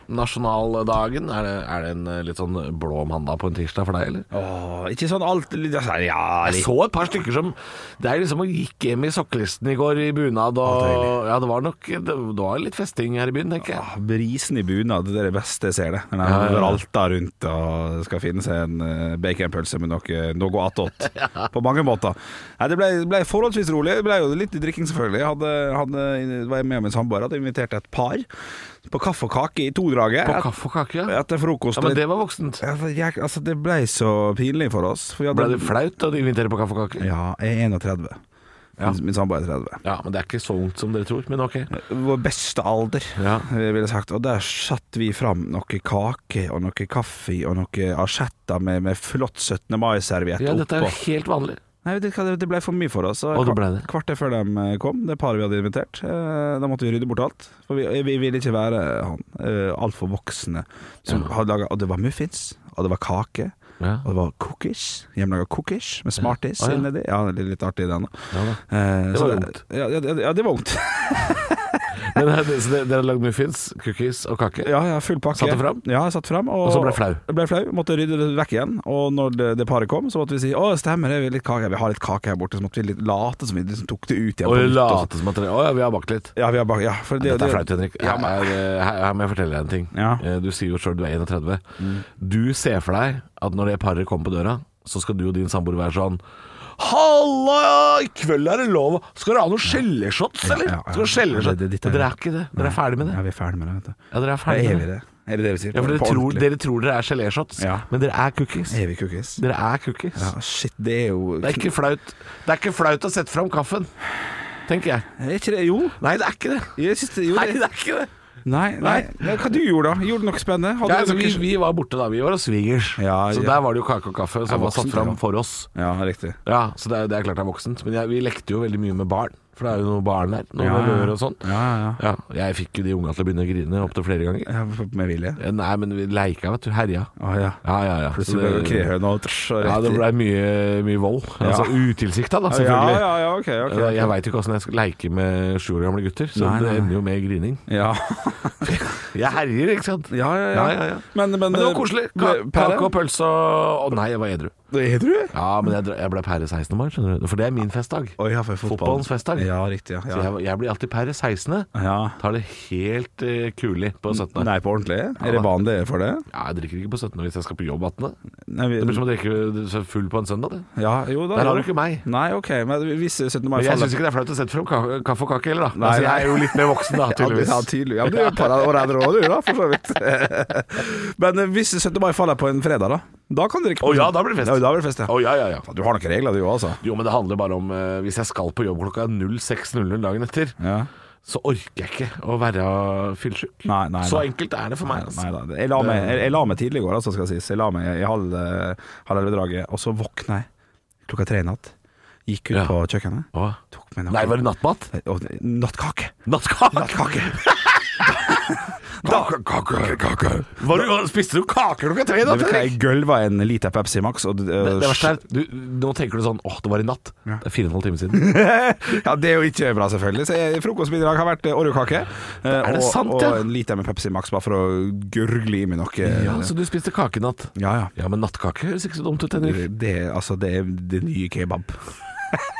Nasjonaldagen, er det, er det en eh, litt sånn blå mandag på en tirsdag for deg, eller?
Åh, ikke sånn alt altså, Ja,
Jeg
litt.
så et par stykker som Det er liksom og gikk hjem i sokkelisten i går i bunad og Ja, det var nok Det det var litt festing her i byen, tenker jeg.
Ah, Brisen i bunad, det er det beste jeg ser det. Når
Ja,
jeg
ja, ja.
går alta rundt og skal finne seg en eh, baconpølse med noe, noe attåt.
[LAUGHS]
På mange måter. Nei, det ble, ble forholdsvis rolig. Det ble jo litt drikking, selvfølgelig. Jeg hadde, hadde, var jeg med min samboer hadde invitert et par på kaffe og kake i todraget.
På
Et-
kaffe og kake, ja.
Etter frokost.
ja men det var voksent.
Ja, for jeg, altså, det ble så pinlig for oss. For vi
Ble det flaut å invitere på kaffe og kake?
Ja, jeg er 31. Min, min samboer er 30.
Ja, men det er ikke så ungt som dere tror. Men ok.
Vår beste alder,
Ja.
eh, ville jeg sagt. Og der satt vi fram noe kake og noe kaffe og noe asjetter med, med flott 17. mai-serviett
Ja, dette er
oppå.
jo helt vanlig.
Nei, vet du hva, det- det ble for mye for oss.
Og det ble det.
Kvarter før de eh, kom, det paret vi hadde invitert, eh, da måtte vi rydde bort alt. For vi, vi ville ikke være han eh, altfor voksne som hadde laga Og det var muffins, og det var kake.
Ja.
Og det var cookies, hjemmelaga cookies med Smarties
Ja. Å, ja.
inni de. Ja, det er litt artig det nå.
Ja da.
Eh,
Det
så
var ungt.
Ja, ja, ja, ja, det var ungt.
Men eh, så dere dere har lagd muffins, cookies og kake?
[LAUGHS] Ja, ja, full pakke.
Satt du fram?
Ja, jeg satt fram.
Og så ble flau.
Jeg Ble flau, måtte rydde det vekk igjen. Og når det, det paret kom, så måtte vi si å, stemmer det, vi, har litt kake. vi har litt kake her borte. Så måtte vi litt late som vi liksom tok det ut igjen. på
Og
nytt, så-
late som at dere Å ja, vi har bakt litt.
Ja, vi har bare, ja, for det,
Dette er
det-
flaut, Henrik.
Ja,
Her,
men-
er, eh, her, her må jeg fortelle deg en ting.
Ja. Mm.
Eh, Du sier jo sjøl du er 31. Du ser for deg at når det paret kommer på døra, så skal du og din samboer være sånn Halla, i kveld er det lov Skal dere ha noen skjelleshots, eller?
ja, ja.
Skal dere skjelleshots?
Det- det- dette er-
Men Dere er ikke det. Dere er ferdig med
Ja,
det.
vi er ferdig med det, vet du.
Ja, dere er
Ja,
ferdig
er vi
med det.
det? Er det det vi sier?
Ja, for dere
På
tror,
ordentlig.
dere tror dere er geléshots,
Ja.
men dere er cookies.
Er vi cookies?
Dere er cookies.
Ja, shit, det er jo
Det er ikke flaut Det er ikke flaut å sette fram kaffen, tenker jeg.
Er ikke det Jo.
Nei, det er ikke det.
Jeg synes det, jo
Nei,
det.
det er ikke det.
Nei, nei. nei. Hva du gjorde da? Gjorde du noe spennende? Hadde
Ja,
du
altså, vi,
noe-
vi var borte da, vi var hos svigers.
Ja,
så
ja.
der var det jo kake og kaffe som
er
var satt
voksent,
fram
ja.
for oss.
Ja, riktig.
Ja, Så det er, det er klart det er voksent. Men jeg, vi lekte jo veldig mye med barn, for det er jo noen barn der. Noen
Ja, ja.
miljøer og sånn.
Ja, ja.
Ja, jeg fikk jo de unga til å begynne å grine opptil flere ganger.
ja med vilje?
Ja, Nei, men vi leika, vet du. Herja.
Å ja.
Ja, ja, ja. Så
Plutselig ble det krehøne og trsh, og
ja, det
rett i-
blei mye, mye vold. Altså utilsikta, da, selvfølgelig. Eh,
Ja, ja, ja, ok, ok, ok.
Jeg veit jo ikke åssen jeg skal leike med sju år gamle gutter, så
Nei,
det
nei, nei.
ender jo med
[LAUGHS]
grining.
Ja.
Jeg herjer, ikke sant?
Ja, ja, ja.
Ja, ja, ja.
Men, men,
Men det var koselig. Ka
Ble- pære?
kake og pølse og Å nei, jeg var edru.
Det er du?
Ja, men jeg, dra- jeg ble pære 16. mai, skjønner du. For det er min festdag.
Oi, ja, for fotball.
Fotballens festdag.
Ja, riktig. Ja.
Så
ja.
jeg, jeg blir alltid pære 16.
ja.
Tar det helt eh, kulig på 17.
Nei, på ordentlig? Er det vanlig for det?
Ja, jeg drikker ikke på 17. hvis jeg skal på jobb 18.
Nei, vi,
Det blir som å drikke seg full på en søndag, det.
ja, jo da.
Der har
jo.
du ikke meg.
Nei, ok. Men hvis 17. mai
Men jeg syns
faller
ikke det er flaut å sette fram ka- kaffe og kake heller, da.
Nei,
altså, jeg
nei.
er jo litt mer voksen, da,
[LAUGHS] ja, det-
tydeligvis.
ja, tydelig. Ja, men du er jo et par år eldre òg, du, da, for så vidt. [LAUGHS] Men eh, hvis 17. mai faller på en fredag, da? Da kan du drikke.
Å ja, da blir det fest.
Ja, da blir det fest,
Å
ja.
ja, ja, ja.
Du har noen regler, du òg, altså.
Jo, men det handler bare om eh, Hvis jeg skal på jobb klokka 06.00 dagen etter,
Ja.
så orker jeg ikke å være fyllesyk.
Nei, nei,
Så
nei.
enkelt er det for meg. Altså.
Nei da. Jeg la meg, jeg, jeg la meg tidlig i går, altså, skal sies. Jeg la meg i halv, eh, halv elleve draget, og så våkna jeg klokka tre i natt. Gikk ut
Ja.
på kjøkkenet,
Å.
tok meg noe
Nei, var det nattmat?
og, Nattkake!
Nattkake?
Nattkake!
[LAUGHS] Da- Var du, spiste du kake klokka tre i
Det
natt,
vet du hva, jeg
Henrik?
gølva en liter Pepsi Max, og eh,
Det, det verste er du, Nå tenker du sånn Åh, det var i natt.
Ja.
Det er fire og en halv time siden.
[LAUGHS] Ja, det er jo ikke bra, selvfølgelig. Så jeg, frokostbidrag har vært eh, Oreo-kake. eh,
Er det
og,
sant,
og
ja?
en liter med Pepsi Max, bare for å gurgle i meg noe.
Ja, så du spiste kake i natt.
ja, ja.
Ja, men nattkake høres ikke så dumt ut, Henrik.
Det, er- altså, det er det nye kebab.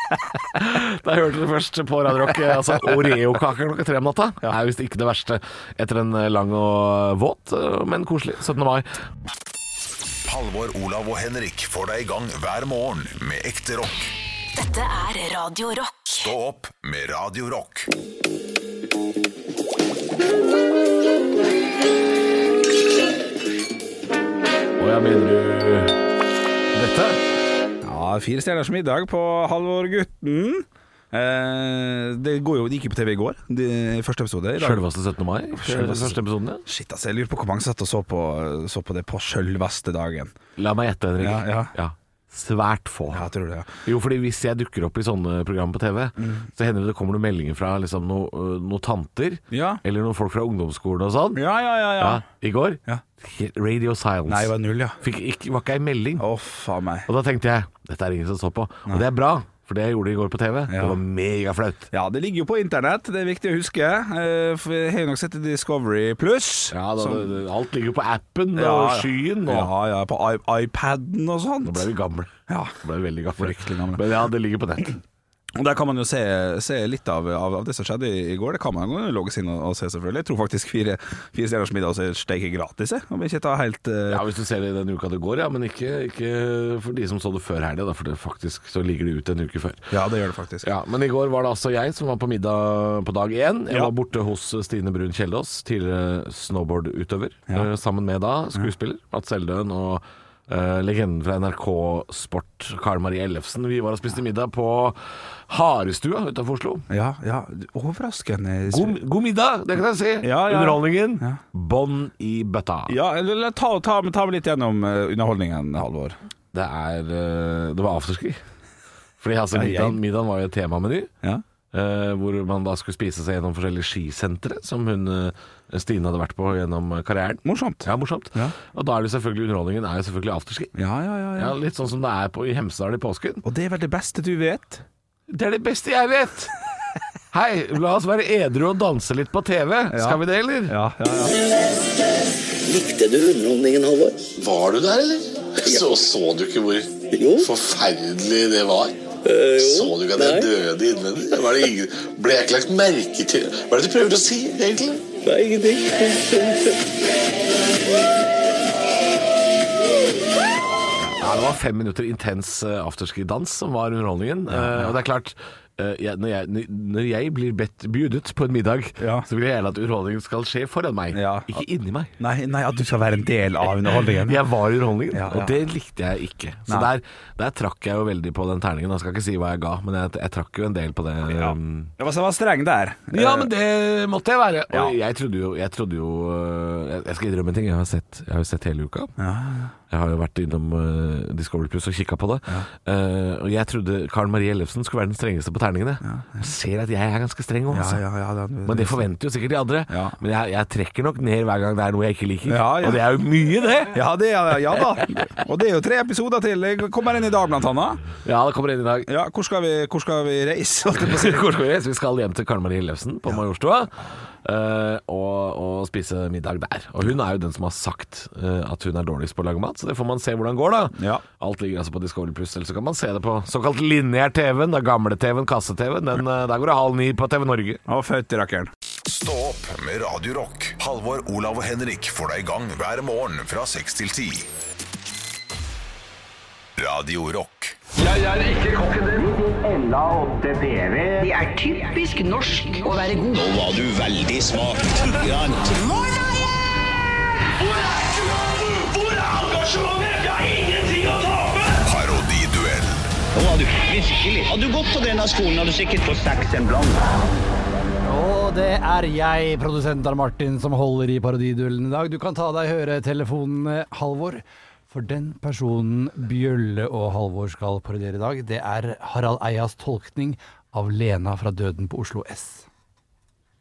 Da hørte du først på Radio Rock. Altså, Oreo-kake klokka tre om natta er visst ikke det verste etter en lang og våt, eh, men koselig 17. mai.
Halvor, Olav og Henrik får deg i gang hver morgen med ekte rock.
Dette er Radio Rock.
Stå opp med Radio Rock.
Og jeg mener du dette?
Ja, Fire stjerners middag på Halvor Gutten. Eh, det, går jo, det gikk jo på TV i går, de, første episode. I dag.
Sjølveste 17. mai?
Sjølveste-
Første episoden, ja.
Shit, altså, jeg lurer på hvor mange som satt og så på, så på det på sjølveste dagen.
La meg gjette, Henrik.
Ja, ja.
Svært få.
Ja, jeg tror det. ja.
Jo, fordi hvis jeg dukker opp i sånne program på TV, så hender det det kommer noen meldinger fra liksom, no- øh, noen tanter,
Ja.
eller noen folk fra ungdomsskolen og sånn.
Ja, ja, ja. ja.
Ja, I går.
Ja.
Radio Silence.
Nei, det var null, ja.
Fikk ikke, var ikke ei melding.
Å, faen meg.
Og da tenkte jeg dette er ingen som så på. Og det er bra, for det jeg gjorde i går på TV,
Ja.
det var megaflaut.
Ja, det ligger jo på internett, det er viktig å huske. Eh, for jeg har jo nok sett i Discovery Pluss.
Ja, da,
som-
det- alt ligger jo på appen
Ja,
og
ja.
skyen og
Ja, ja, på I iPaden og sånt.
Nå ble vi gamle.
Ja.
Nå ble vi veldig gamle.
Fryktelig gamle.
Men ja, det ligger på nett.
Og Der kan man jo se, se litt av, av, av det som skjedde i, i går. Det kan man jo logges inn og, og se, selvfølgelig. Jeg tror faktisk fire, fire stjerners middag også er steike gratis, jeg. Om jeg ikke tar helt eh,
Ja, Hvis du ser det i den uka det går, ja. Men ikke, ikke for de som så det før helga, da, for det faktisk så ligger det ut en uke før.
ja, det gjør det faktisk.
Ja, Men i går var det altså jeg som var på middag på dag én. Jeg
Ja.
var borte hos eh, Stine Brun Kjeldås, tidligere snowboardutøver. eh, Sammen med da skuespiller Mats Eldøen og eh, legenden fra NRK Sport, Karl Marie Ellefsen. Vi var og spiste middag på Harestua utafor Oslo.
Ja, ja, overraskende.
God, god middag, det kan jeg si.
Ja, ja.
Underholdningen.
Ja.
Bånn i bøtta.
Ja, eller, eller ta, ta, ta meg litt gjennom eh, underholdningen, Halvor.
Det er eh, Det var afterski. Fordi altså,
Ja, jeg-
middagen, middagen var jo et temameny.
Ja.
eh, hvor man da skulle spise seg gjennom forskjellige skisentre som hun eh, Stine hadde vært på gjennom karrieren.
Morsomt.
Ja, morsomt.
Ja.
Og da er det selvfølgelig underholdningen er jo selvfølgelig afterski.
Ja, ja, ja, ja.
Ja, Litt sånn som det er på, i Hemsedal i påsken.
Og det er vel det beste du vet?
Det er det beste jeg vet! Hei, la oss være edru og danse litt på TV. Skal vi det, eller?
Ja, ja, ja.
Likte du underholdningen, Halvor?
Var du der, [LAUGHS] eller? Så, så du ikke hvor
Jo.
forferdelig det var?
Eh, jo.
Så du ikke at jeg
Nei.
døde innvendig? Var det ingen, ble jeg ikke lagt merke til? Hva er det du prøver å si, egentlig?
Nei, ingenting.
Ja, det var fem minutter intens eh, afterski-dans som var underholdningen. Eh, og det er klart, eh, jeg, når, jeg, når jeg blir bedt bjudet på en middag,
Ja.
så vil jeg gjerne at underholdningen skal skje foran meg,
Ja.
ikke inni meg.
Nei, nei, at du skal være en del av underholdningen.
Jeg var i underholdningen,
Ja, ja.
og det likte jeg ikke. Så
Nei.
der, der trakk jeg jo veldig på den terningen. Jeg skal ikke si hva jeg ga, men jeg, jeg trakk jo en del på det.
Ja.
um,
Jeg var, jeg var streng der.
Ja, men det måtte jeg være. Og
Eh, Ja.
jeg trodde jo, jeg, trodde jo øh, jeg, jeg skal innrømme en ting. Jeg har, sett, jeg har jo sett hele uka. Jeg har jo vært innom øh, Discovery Plus og kikka på det. Eh, og jeg trodde Karen Marie Ellefsen skulle være den strengeste på terningene. Jeg ser at jeg er ganske streng òg,
Ja,
altså.
ja, ja, det-
Men det forventer jo sikkert de andre.
Ja.
Men jeg, jeg trekker nok ned hver gang det er noe jeg ikke liker.
Ja, ja.
Og det er jo mye, det!
Ja, det, ja, ja da. Og det er jo tre episoder til. Jeg kommer inn i dag, blant annet.
Ja, det kommer inn i dag.
Ja, hvor skal vi, hvor skal vi reise? holdt jeg på å si?
[LAUGHS] Hvor skal vi? Så vi skal hjem til Karen Marie Ellefsen på Majorstua eh, og, og spise middag der. Og hun er jo den som har sagt eh, at hun er dårligst på å lage mat, så det får man se hvordan går, da.
Ja.
Alt ligger altså på Discovery Pluss, eller så kan man se det på såkalt lineær-TV-en. Da gamle-TV-en, kasse-TV-en. Den, eh, Der går det halv ni på TV Norge.
Og født i rakkeren.
Stå opp med Radio Rock. Halvor, Olav og Henrik får deg i gang hver morgen fra 6 til 10. Radio Rock.
Det E er typisk norsk å være god.
Parodiduell.
Og det er jeg, produsent Arne Martin, som holder i parodiduellen i dag. Du kan ta deg høretelefonene, Halvor. For den personen Bjølle og Halvor skal parodiere i dag, det er Harald Eias tolkning av Lena fra Døden på Oslo S.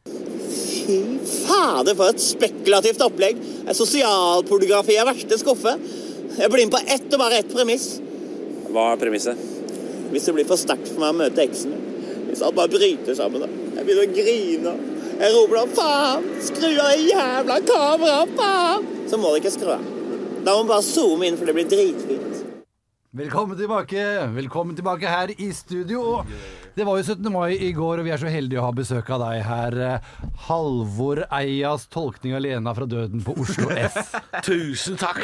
Fy fader, for et spekulativt opplegg. Et Sosialpornografi er verste skuffe. Jeg blir med på ett og bare ett premiss.
Hva er premisset?
Hvis det blir for sterkt for meg å møte eksen min. Hvis han bare bryter sammen, da. Jeg begynner å grine. Jeg roper da 'faen', 'skru av det jævla kameraet', 'faen'. Så må det ikke skru av. Da må man bare zoome inn, for det blir dritfint.
Velkommen tilbake! Velkommen tilbake her i studio. Og Det var jo 17. mai i går, og vi er så heldige å ha besøk av deg her. eh, Halvor Eias tolkning av Lena fra Døden på Oslo S.
Tusen takk!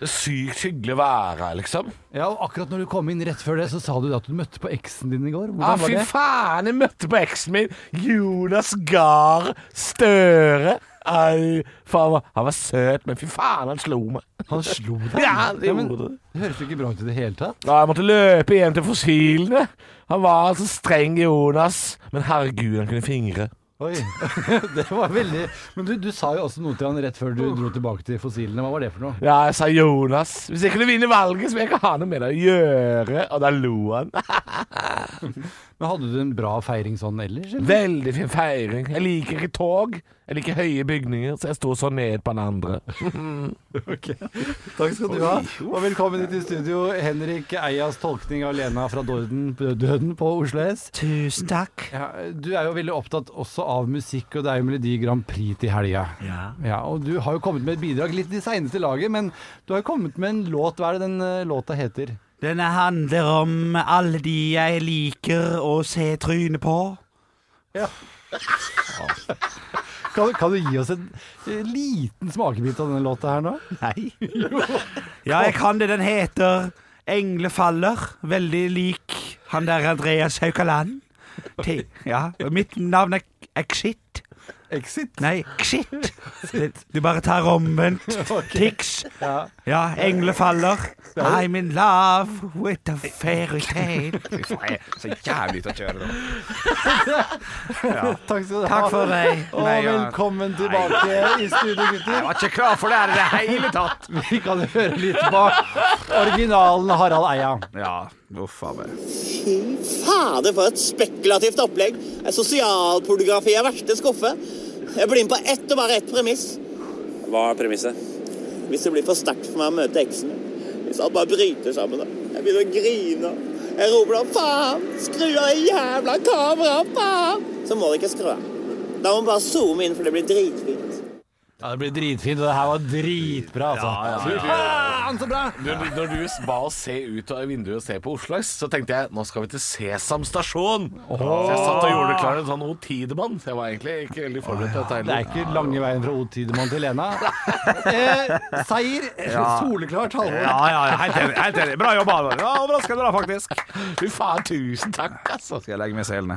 Det er sykt hyggelig å være her, liksom.
Ja, og akkurat når du kom inn rett før det, så sa du at du møtte på eksen din i går.
Ja, Ah,
Hvordan var
fy
det?
faen, jeg møtte på eksen min Jonas Gahr Støre. Au! Faen, han var søt, men fy faen, han slo meg.
Han slo deg?
Ja, det
Ja, men-
gjorde det.
Det høres jo ikke bra ut i det hele tatt.
Ja, jeg måtte løpe hjem til fossilene. Han var så streng, Jonas. Men herregud, han kunne fingre.
Oi, [LAUGHS] det var veldig Men du, du sa jo også noe til han rett før du dro tilbake til fossilene. Hva var det for noe?
Ja, jeg sa Jonas. Hvis jeg kunne vinne valget, så vil jeg ikke ha noe med det å gjøre. Og da lo
[LAUGHS]
han.
Men Hadde du en bra feiring sånn ellers? eller?
Veldig fin feiring. Jeg liker ikke tog. Jeg liker høye bygninger, så jeg sto så ned på den andre.
Takk skal du ha, og velkommen hit i studio, Henrik Eias tolkning av Lena fra Dorden, Døden på Oslo S.
Tusen takk.
Ja, du er jo veldig opptatt også av musikk, og det er jo Melodi Grand Prix til helga.
Ja.
Ja, og du har jo kommet med et bidrag litt i seineste laget, men du har jo kommet med en låt. Hva er det den eh, låta heter?
Denne handler om alle de jeg liker å se trynet på.
Kan, kan du gi oss en eh, liten smakebit av denne låta her nå?
[LAUGHS] Nei. Ja, jeg kan det. Den heter Englefaller. Veldig lik han der Andreas Haukaland. Ti- Ja. Mitt navn er Exit.
Exit.
Nei, Xit. Du bare tar [LAUGHS] omvendt. Tix.
Ja.
Ja, englefaller. I'm in love with a [LAUGHS] fairytale. Så jævlig til å kjøre det.
Takk skal du ha.
Takk for meg.
Og
Nei, ja.
velkommen tilbake i studio, gutter.
var ikke klar for det her i det hele tatt.
Vi kan høre litt bak originalen Harald Eia.
Ja, uff a meg.
Fy fader, for et spekulativt opplegg. Et sosialpornografi av verste skuffe. Jeg blir med på ett og bare ett premiss.
Hva er premisset?
Hvis det blir for sterkt for meg å møte eksen min. Hvis han bare bryter sammen. da. Jeg begynner å grine. Jeg roper da 'faen', skru av det jævla kameraet, faen! Så må det ikke skru av. Da må man bare zoome inn, for det blir dritfint.
Ja, Det blir dritfint, og det her var dritbra, altså. Faen, så bra!
Når, du- når du ba oss se ut av vinduet og se på Oslo S, så tenkte jeg nå skal vi til Sesam stasjon. Så jeg satt og gjorde det klar en sånn O Tidemann. Så jeg var egentlig ikke veldig forberedt på dette
Det er
heller.
ikke lange veien fra Odd Tidemann til [LAUGHS] Lena. Eh, seier. Soleklart, Halvor.
Ja, ja, ja, helt enig. Helt enig. Bra jobba, Alvar. Ja, Overraskende bra, faktisk.
Fy faen, tusen takk, altså.
Skal jeg legge meg i selene?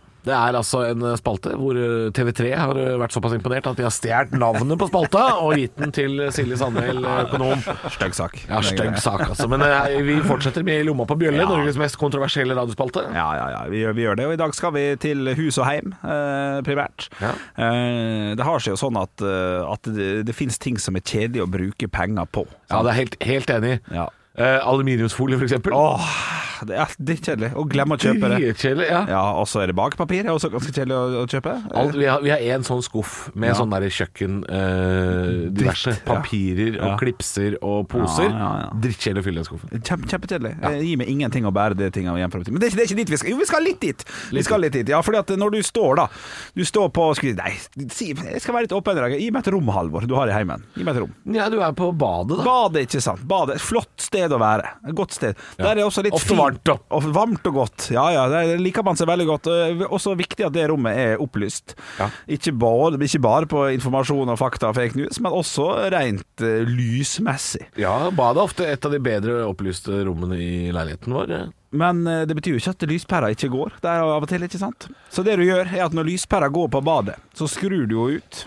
Det er altså en eh, spalte hvor eh, TV3 har eh, vært såpass imponert at de har stjålet navnet på spalta og gitt den til eh, Silje Sandhell, eh, økonom.
Stygg sak.
Ja, stygg sak, altså. Men eh, vi fortsetter med I lomma på bjølle, Norges mest kontroversielle radiospalte.
Ja, ja, ja. Vi, gjør- vi gjør det. Og i dag skal vi til hus og heim, eh, primært.
Ja.
Eh, det har seg jo sånn at, eh, at det, det finnes ting som er kjedelig å bruke penger på.
Ja, det er helt, helt enig.
Ja.
Eh, aluminiumsfolie, for eksempel.
Åh, det er, det er kjedelig. Og glem å kjøpe det.
Dritkjedelig, ja.
Ja, og så er det bakepapir. Det er også ganske kjedelig å, å kjøpe.
Alt, vi, har, vi har en sånn skuff med
Ja.
sånn der kjøkken eh, Diverse
Dritt, ja.
papirer og
Ja.
klipser og poser.
Ja, ja, ja.
Drittkjedelig å fylle den skuffen.
Kjempe, Kjempekjedelig. Eh, Gi meg ingenting å bære de tingene hjem fra butikken. Men det er, ikke, det er ikke dit vi skal. Jo, vi skal litt dit. vi skal litt dit. Ja, fordi at når du står da Du står på skri- Nei, si, jeg skal være litt åpen i dag. Gi meg et rom, Halvor. Du har i heimen. Gi meg et rom.
Ja, du er på badet, da.
Badet, ikke sant. Badet. Et Flott sted å være. Et godt sted. Der er det også litt
Ofte
fint.
varmt, da.
Og varmt og godt. Ja, ja. Der liker man seg veldig godt. Og Også viktig at det rommet er opplyst.
Ja.
Ikke, bare, ikke bare på informasjon og fakta og fake news, men også rent eh, lysmessig.
Ja, badet er ofte et av de bedre opplyste rommene i leiligheten vår. ja.
Men eh, det betyr jo ikke at lyspæra ikke går. Det er jo av og til, ikke sant? Så det du gjør, er at når lyspæra går på badet, så skrur du jo ut.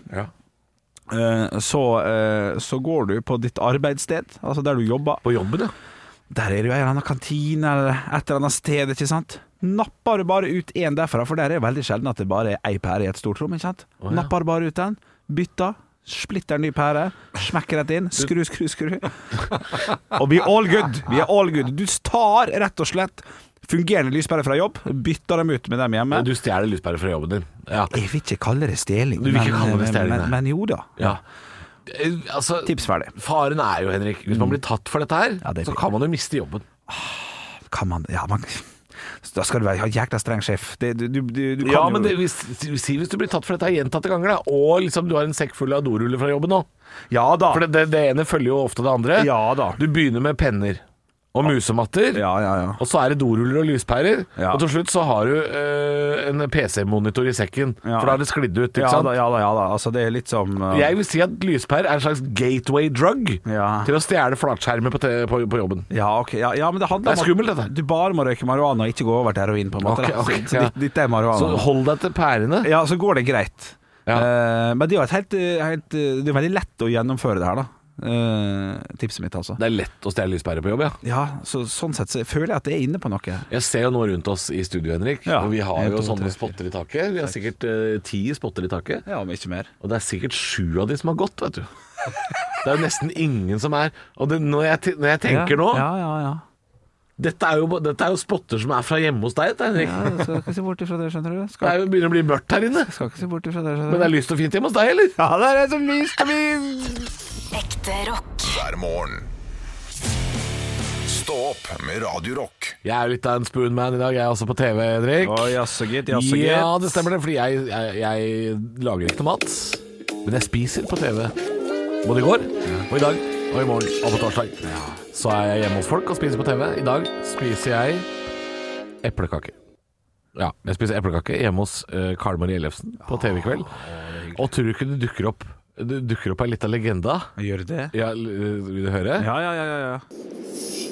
Eh, Så, eh, så går du på ditt arbeidssted, altså der du jobber.
På jobben, ja.
Der er det jo en eller annen kantine eller et eller annet sted, ikke sant? Napper du bare ut én derfra, for der er det veldig sjelden at det bare er ei pære i et stort rom, ikke sant?
ja.
Napper du bare ut den, bytter, splitter ny pære, smekker rett inn, skru, skru, skru. Og vi er all good. Vi er all good. Du tar rett og slett fungerende lyspærer fra jobb, bytter dem ut med dem hjemme.
Du stjeler lyspærer fra jobben din. Ja.
Jeg vil ikke kalle det stjeling,
Du vil ikke kalle det stjeling,
men,
nei.
men, men jo da.
ja. Eh, Altså,
Tips ferdig.
faren er jo, Henrik, hvis man blir tatt for dette her,
Mm. Ja, det er
så
fint.
kan man jo miste jobben.
Kan man Ja, man Da skal du være ha jækla streng sjef. Det, du, du, du, du kan
Ja,
jo-
men det, hvis, si hvis du blir tatt for dette her gjentatte ganger, da, og liksom du har en sekk full av doruller fra jobben nå.
Ja da.
For det, det, det ene følger jo ofte det andre.
Ja da.
Du begynner med penner. og musematter. Og så er det doruller og lyspærer. Og til slutt så har du eh, en PC-monitor i sekken, for da har det sklidd ut. Ikke
ja,
sant?
Da, ja da, ja da. Altså, det er litt som uh,
Jeg vil si at lyspærer er en slags gateway drug til å stjele flatskjermer på, te- på, på jobben.
ja, ok. ja, ja, men det handler
Det er skummelt, dette.
Du bare må røyke marihuana og ikke gå over til heroin, på en måte.
Ok,
da.
ok,
så
ja.
ditt, ditt er marihuana.
Så hold deg til pærene.
Ja, så går det greit. Eh, men det er jo et helt, helt Det er jo veldig lett å gjennomføre det her, da. Eh, tipset mitt, altså.
Det er lett å stjele lyspærer på jobb, ja.
Ja, så sånn sett så føler jeg at det er inne på noe.
Jeg ser jo nå rundt oss i studio, Henrik,
Ja,
og vi har
en,
jo
to,
sånne
tre,
spotter i taket. Vi har sikkert eh, ti spotter i taket.
Ja, om ikke mer.
Og det er sikkert sju av de som har gått, vet du. [LAUGHS] Det er jo nesten ingen som er Og det, når, jeg, te- når jeg tenker nå
Ja, ja, ja.
dette, er jo, ba- dette er jo spotter som er fra hjemme hos deg, dette, Henrik.
ja skal ikke se bort ifra det, skjønner du.
[LAUGHS] Det
Skal,
er jo begynner å bli mørkt her inne.
skal ikke se bort ifra det, skjønner du.
Men det er lyst og fint hjemme hos deg, eller?
Ja, det er som lyst og
Ekte rock.
hver morgen. Stå opp med Radio Rock.
Jeg er litt av en spoonman i dag, jeg er også på TV, Henrik.
jaså gitt,
ja, det stemmer det, fordi jeg, jeg, jeg lager ikke noe mat, men jeg spiser på TV. Både i går, og i dag, og i morgen, og på torsdag. Så er jeg hjemme hos folk og spiser på TV. I dag spiser jeg eplekake. Ja, jeg spiser eplekake hjemme hos eh, Karl Marie Ellefsen på TV i kveld. Og tror du ikke det dukker opp Det dukker opp ei lita legende?
Gjør det?
Ja, l- vil du høre?
Ja, ja, ja. ja, ja.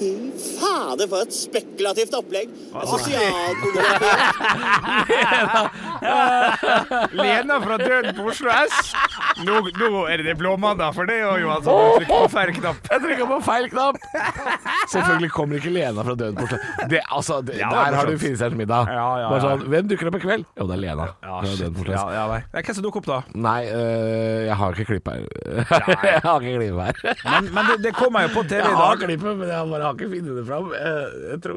Fy fader, for et spekulativt opplegg! Det er Sosialpornografi.
Lena fra Døden på Oslo S. Nå, nå er det blåmandag for deg òg, Johan. Du trykker på feil knapp.
Jeg trykka på feil knapp! [LAUGHS] Selvfølgelig kommer ikke Lena fra døden bort. Det, altså, det,
Ja, det
der
er
har du
morsomt.
finisert middag.
Ja, ja,
Bare
ja.
Sånn, Hvem dukker opp i kveld? Jo, det er Lena. fra
shit.
Døden Portland.
ja, ja nei. Det er Hvem som dukker opp, da?
Nei, øh, jeg har ikke klipp her. [LAUGHS] jeg har ikke klipp her.
Men, men det, [LAUGHS] det kommer jo på TV i
Jeg har
dag.
klippet, men jeg bare har ikke funnet det fram. Jeg, jeg tror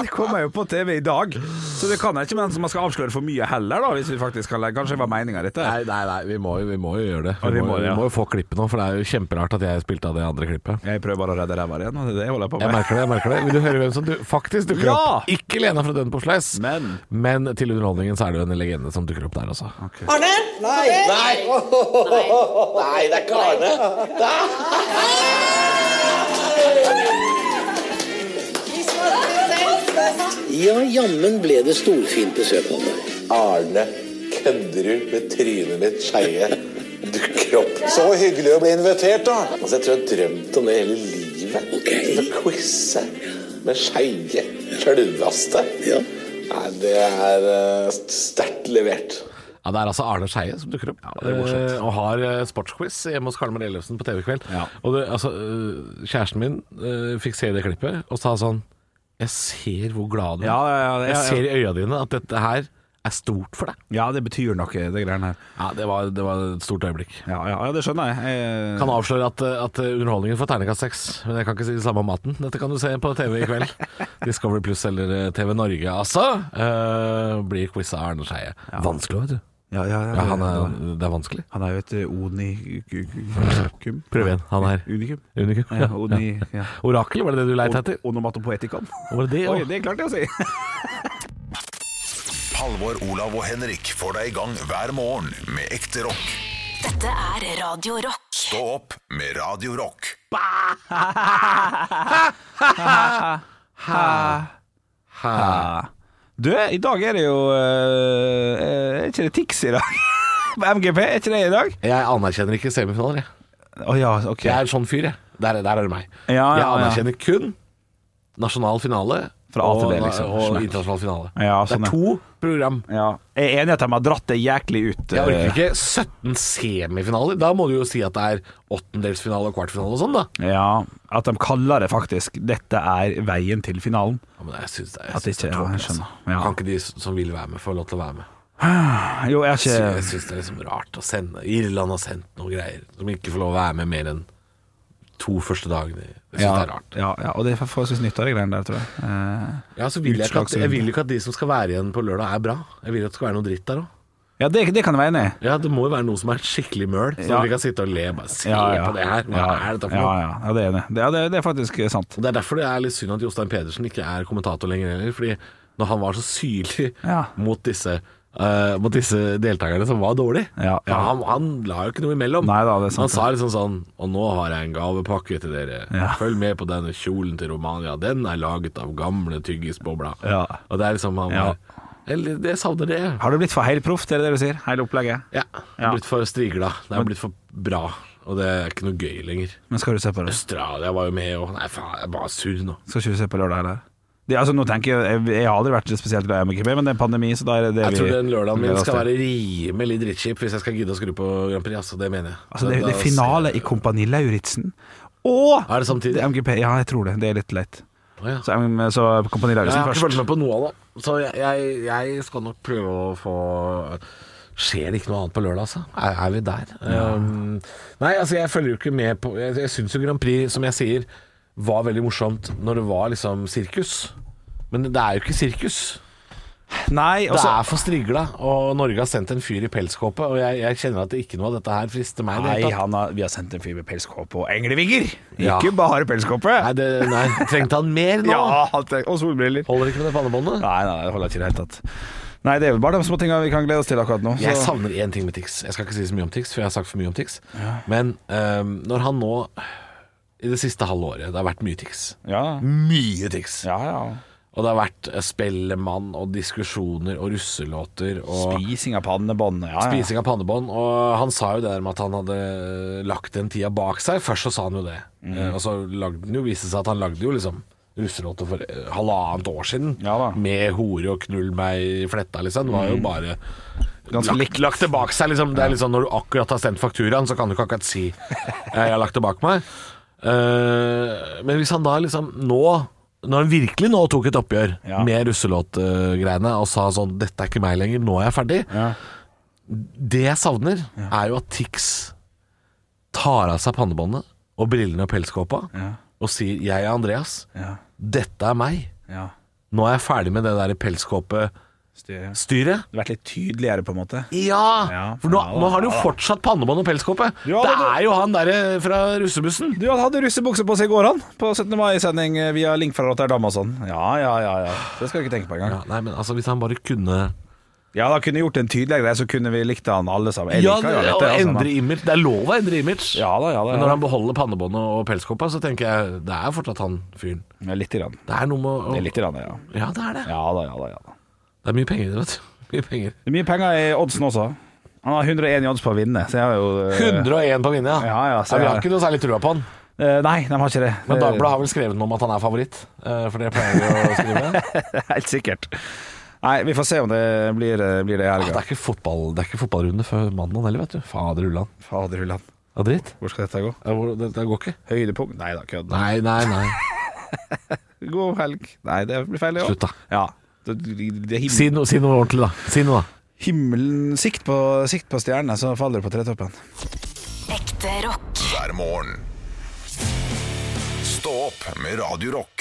Det kommer jo på TV i dag. Så det kan jeg ikke med den som man skal avsløre for mye heller, da. Hvis vi faktisk skal legge Kanskje det var meninga dette?
[LAUGHS] Nei, nei, nei vi, må, jo- vi må jo gjøre det.
Ja,
Vi
vi
må,
må det,
vi
ja.
må jo få klippet nå, for det er jo kjemperart at jeg spilte av det andre klippet.
Jeg prøver bare å redde ræva igjen, og det er det jeg holder på
Jeg
med.
merker det. jeg merker det Vil du høre hvem som du, faktisk dukker
Ja!
opp? Ikke Lena fra Døden på Sleis,
Men-
men til underholdningen så er det jo en legende som dukker opp der, altså.
Nei, det er ikke Arne.
Ja, jammen ble det storfint besøk av deg.
Arne Kødderud med trynet mitt skeie dukker opp. Så hyggelig å bli invitert, da. Altså, Jeg tror jeg har drømt om det hele livet. Okay. Å quize med skeie. Sjølvaste.
Ja.
Nei, det er eh, sterkt levert.
Ja, Det er altså Arne Skeie som dukker opp. eh, og har eh, sportsquiz hjemme hos Karl Marie Ellefsen på TV i kveld.
Ja.
Og det, altså, eh, kjæresten min eh, fikk se det klippet og sa sånn Jeg ser hvor glad du er.
Ja, ja, ja, det-
jeg
ja, ja.
ser i øya dine at dette her er stort for deg.
Ja, det betyr noe, det greiene her.
Ja, Det var, det var et stort øyeblikk.
Ja, ja, ja det skjønner jeg. jeg
Kan avsløre at, eh, at underholdningen får terningkast seks, men jeg kan ikke si det samme om maten. Dette kan du se på TV i [LAUGHS] kveld. Discovery Pluss eller eh, TV Norge, altså. Eh, blir quiza av Arne Skeie. Vanskelig, vet du.
ja, ja, ja,
Ja, han
det-
er, det er vanskelig.
Han er jo et eh, unikum.
Prøv igjen. Han er
Unikum.
unikum.
Ja, oni, ja.
Orakel, var det det du leit etter?
Onomatopoetikon.
Var det det?
Oi, det klarte jeg å si.
Halvor, Olav og Henrik får deg i gang hver morgen med ekte rock.
Dette er Radio Rock.
Stå opp med Radio Rock.
Du, i dag er det jo eh, Er ikke det Tix i dag? [LAUGHS] På MGP, er ikke det i dag?
Jeg anerkjenner ikke semifinaler, jeg.
Å ja, ok.
Jeg er en sånn fyr, jeg. Der, der er det meg.
Ja, ja,
jeg
ja.
anerkjenner kun nasjonal finale
Fra A til B,
og-
liksom.
og
Smack.
internasjonal finale.
Ja, sånn,
det er
ja.
to program.
Ja. Jeg er enig i at de har dratt det jæklig ut.
Jeg orker
eh,
ikke 17 semifinaler. Da må du jo si at det er åttendelsfinale og kvartfinale og sånn, da.
Ja, At de kaller det faktisk 'Dette er veien til finalen'.
Ja, men jeg syns det er,
At
synes det er
ikke- ja, jeg
tåpelig, altså.
skjønner. Ja.
Kan ikke de som vil være med, få lov til å være med?
Jo, jeg
Så
er
Jeg
ikke
syns det er liksom rart å sende Irland har sendt noen greier som ikke får lov å være med mer enn to første dagene. Jeg syns
ja,
det er rart.
Ja, ja, og det er forholdsvis nytt av de greiene der, tror jeg. Eh,
Ja, så vil jeg, ikke at,
Utslagsrunde.
jeg vil jo ikke at de som skal være igjen på lørdag, er bra. Jeg vil at det skal være noe dritt der òg.
Ja, det, det kan jeg være enig i.
Ja, det må jo være noe som er skikkelig møl, så
Ja.
vi kan sitte og le. Bare se
Ja, ja.
på det her. Hva
Ja,
er dette for
ja,
noe?
ja, ja, det er enig. Det, ja, det, det er faktisk sant.
Og Det er derfor det er litt synd at Jostein Pedersen ikke er kommentator lenger heller. Fordi når han var så syrlig
Ja.
mot disse eh, mot disse deltakerne som var dårlige.
Ja, ja.
han, han la jo ikke noe imellom.
Neida, det er
han
sant.
sa liksom sånn Og nå har jeg en gavepakke til dere.
Ja.
Følg med på denne kjolen til Romania. Den er laget av gamle tyggisbobler.
Ja.
Og det er liksom han
Ja.
var Eller, det savner det.
Har du blitt for helproft, er det det du sier? Hele opplegget?
Ja. Jeg har Blitt for strigla. Det har blitt for bra. Og det er ikke noe gøy lenger.
Men skal du se på det?
Australia var jo med og Nei, faen, jeg er bare sur nå.
Skal ikke du se på lørdag heller? Det, altså, nå tenker jeg, jeg, jeg har aldri vært spesielt glad i MGP, men det er pandemi, så da er det det
Jeg
vi
tror den lørdagen min
gleder oss
skal
til.
være rimelig drittkjip hvis jeg skal gidde å skru på Grand Prix, altså. Det mener jeg.
Altså, det,
Da-
det
da-
er finale i Kompani Lauritzen. Og
Er det samtidig?
er MGP. Ja, jeg tror det. Det er litt leit.
Å, ja.
Så, em, så Kompani
Jeg
Lauritzen
har ikke
først.
fulgt med på noe av det. Så jeg, jeg, jeg skal nok prøve å få Skjer det ikke noe annet på lørdag, altså? Er, er vi der? Um, nei, altså jeg følger jo ikke med på Jeg, jeg syns jo Grand Prix, som jeg sier, var veldig morsomt når det var liksom sirkus. Men det er jo ikke sirkus.
Nei,
det
altså-
er for strigla, og Norge har sendt en fyr i pelskåpe. Og jeg, jeg kjenner at det ikke noe av dette her frister meg. i det hele
Nei,
tatt.
han har, vi har sendt en fyr med pelskåpe og englevinger!
Ja.
Ikke bare pelskåpe!
Nei, det, nei, trengte han mer nå?
Ja, han treng- og solbriller.
Holder ikke med det pannebåndet?
Nei, nei, det holder ikke i det hele tatt. Nei, det er vel bare de små tinga vi kan glede oss til akkurat nå.
Jeg
så-
savner én ting med Tix. Jeg skal ikke si så mye om Tix, for jeg har sagt for mye om Tix. Men øhm, når han nå I det siste halve året Det har vært mye Tix.
Ja.
Mye Tix.
Ja, ja.
Og det har vært eh, Spellemann og diskusjoner og russelåter og
Spising av pannebånd. Ja, ja.
Spising av pannebånd. Og han sa jo det der med at han hadde lagt den tida bak seg. Først så sa han jo det.
Mhm.
Eh, Og så lagde han jo, viste det seg at han lagde jo liksom russelåter for eh, halvannet år siden.
Ja da. Mhm.
Med hore og knull meg i fletta, liksom. Det var jo bare lagt,
Ganske likt.
lagt det bak seg, liksom. Det er liksom når du akkurat har sendt fakturaen, så kan du ikke akkurat si eh, 'jeg har lagt det bak meg'. Eh, men hvis han da liksom nå når han virkelig nå tok et oppgjør
Ja.
med russelåtgreiene og sa sånn 'Dette er ikke meg lenger, nå er jeg ferdig',
Ja.
det jeg savner, er jo at Tix tar av seg pannebåndet og brillene og pelskåpa
Ja.
og sier 'Jeg er Andreas.
Ja.
Dette er meg.
ja.
Nå er jeg ferdig med det der pelskåpestyret'.
Styr, ja. Det har vært litt tydeligere, på en måte.
Ja!
Ja,
for nå,
ja da,
nå har han jo
ja da.
fortsatt pannebånd og pelskåpe.
Ja,
det
det-
er jo han derre fra russebussen.
Du han hadde russebukse på seg i går, han. På 17. mai-sending eh, via link fra Rotterdam og sånn. Ja, ja, ja, ja. Det skal du ikke tenke på engang.
Ja, nei, men altså, hvis han bare kunne
Ja, da kunne jeg gjort en tydeligere greie, så kunne vi likt han alle sammen. Jeg
Ja,
liker jo
og
dette, altså,
endre
men-
image. Det er lov å endre image.
Ja da, ja da.
Men
Ja.
når han beholder pannebåndet og pelskåpa, så tenker jeg det er fortsatt han fyren.
Ja, litt grann.
Det er noe med å
Det er litt grann, ja.
Ja, det er det.
Ja da, ja da, ja da.
Det er mye penger i det, vet du. [LAUGHS] Mye penger.
Det er mye penger i oddsen også. Han har 101 i odds på å vinne, så jeg har jo eh,
101 på å vinne, ja.
Ja, ja,
vi
så jeg-
har ikke noe særlig trua på han.
eh, Nei, de har ikke det.
Men
Det-
Dagbladet har vel skrevet noe om at han er favoritt, eh, for det pleier vi å skrive.
[LAUGHS] Helt sikkert. Nei, vi får se om det blir, eh, blir det i
Ah, det,
helga.
er ikke fotball, det er ikke fotballrunde før mandag heller, vet du. Fader ullan.
Fader ulland.
Det er dritt.
Hvor skal dette gå?
Ja, hvor- Det, det går ikke.
Høydepunkt? Nei da, kødd.
Nei, nei,
[LAUGHS]
nei.
God helg. Nei, det blir feil, det også.
Slutt, da.
Ja. Det, det er himmel.
Si, noe- si noe ordentlig, da. Si noe, da.
himmelen Sikt på, sikt på stjernene, så faller du på tretoppen.
Ekte rock.
hver morgen. Stå opp med Radio Rock.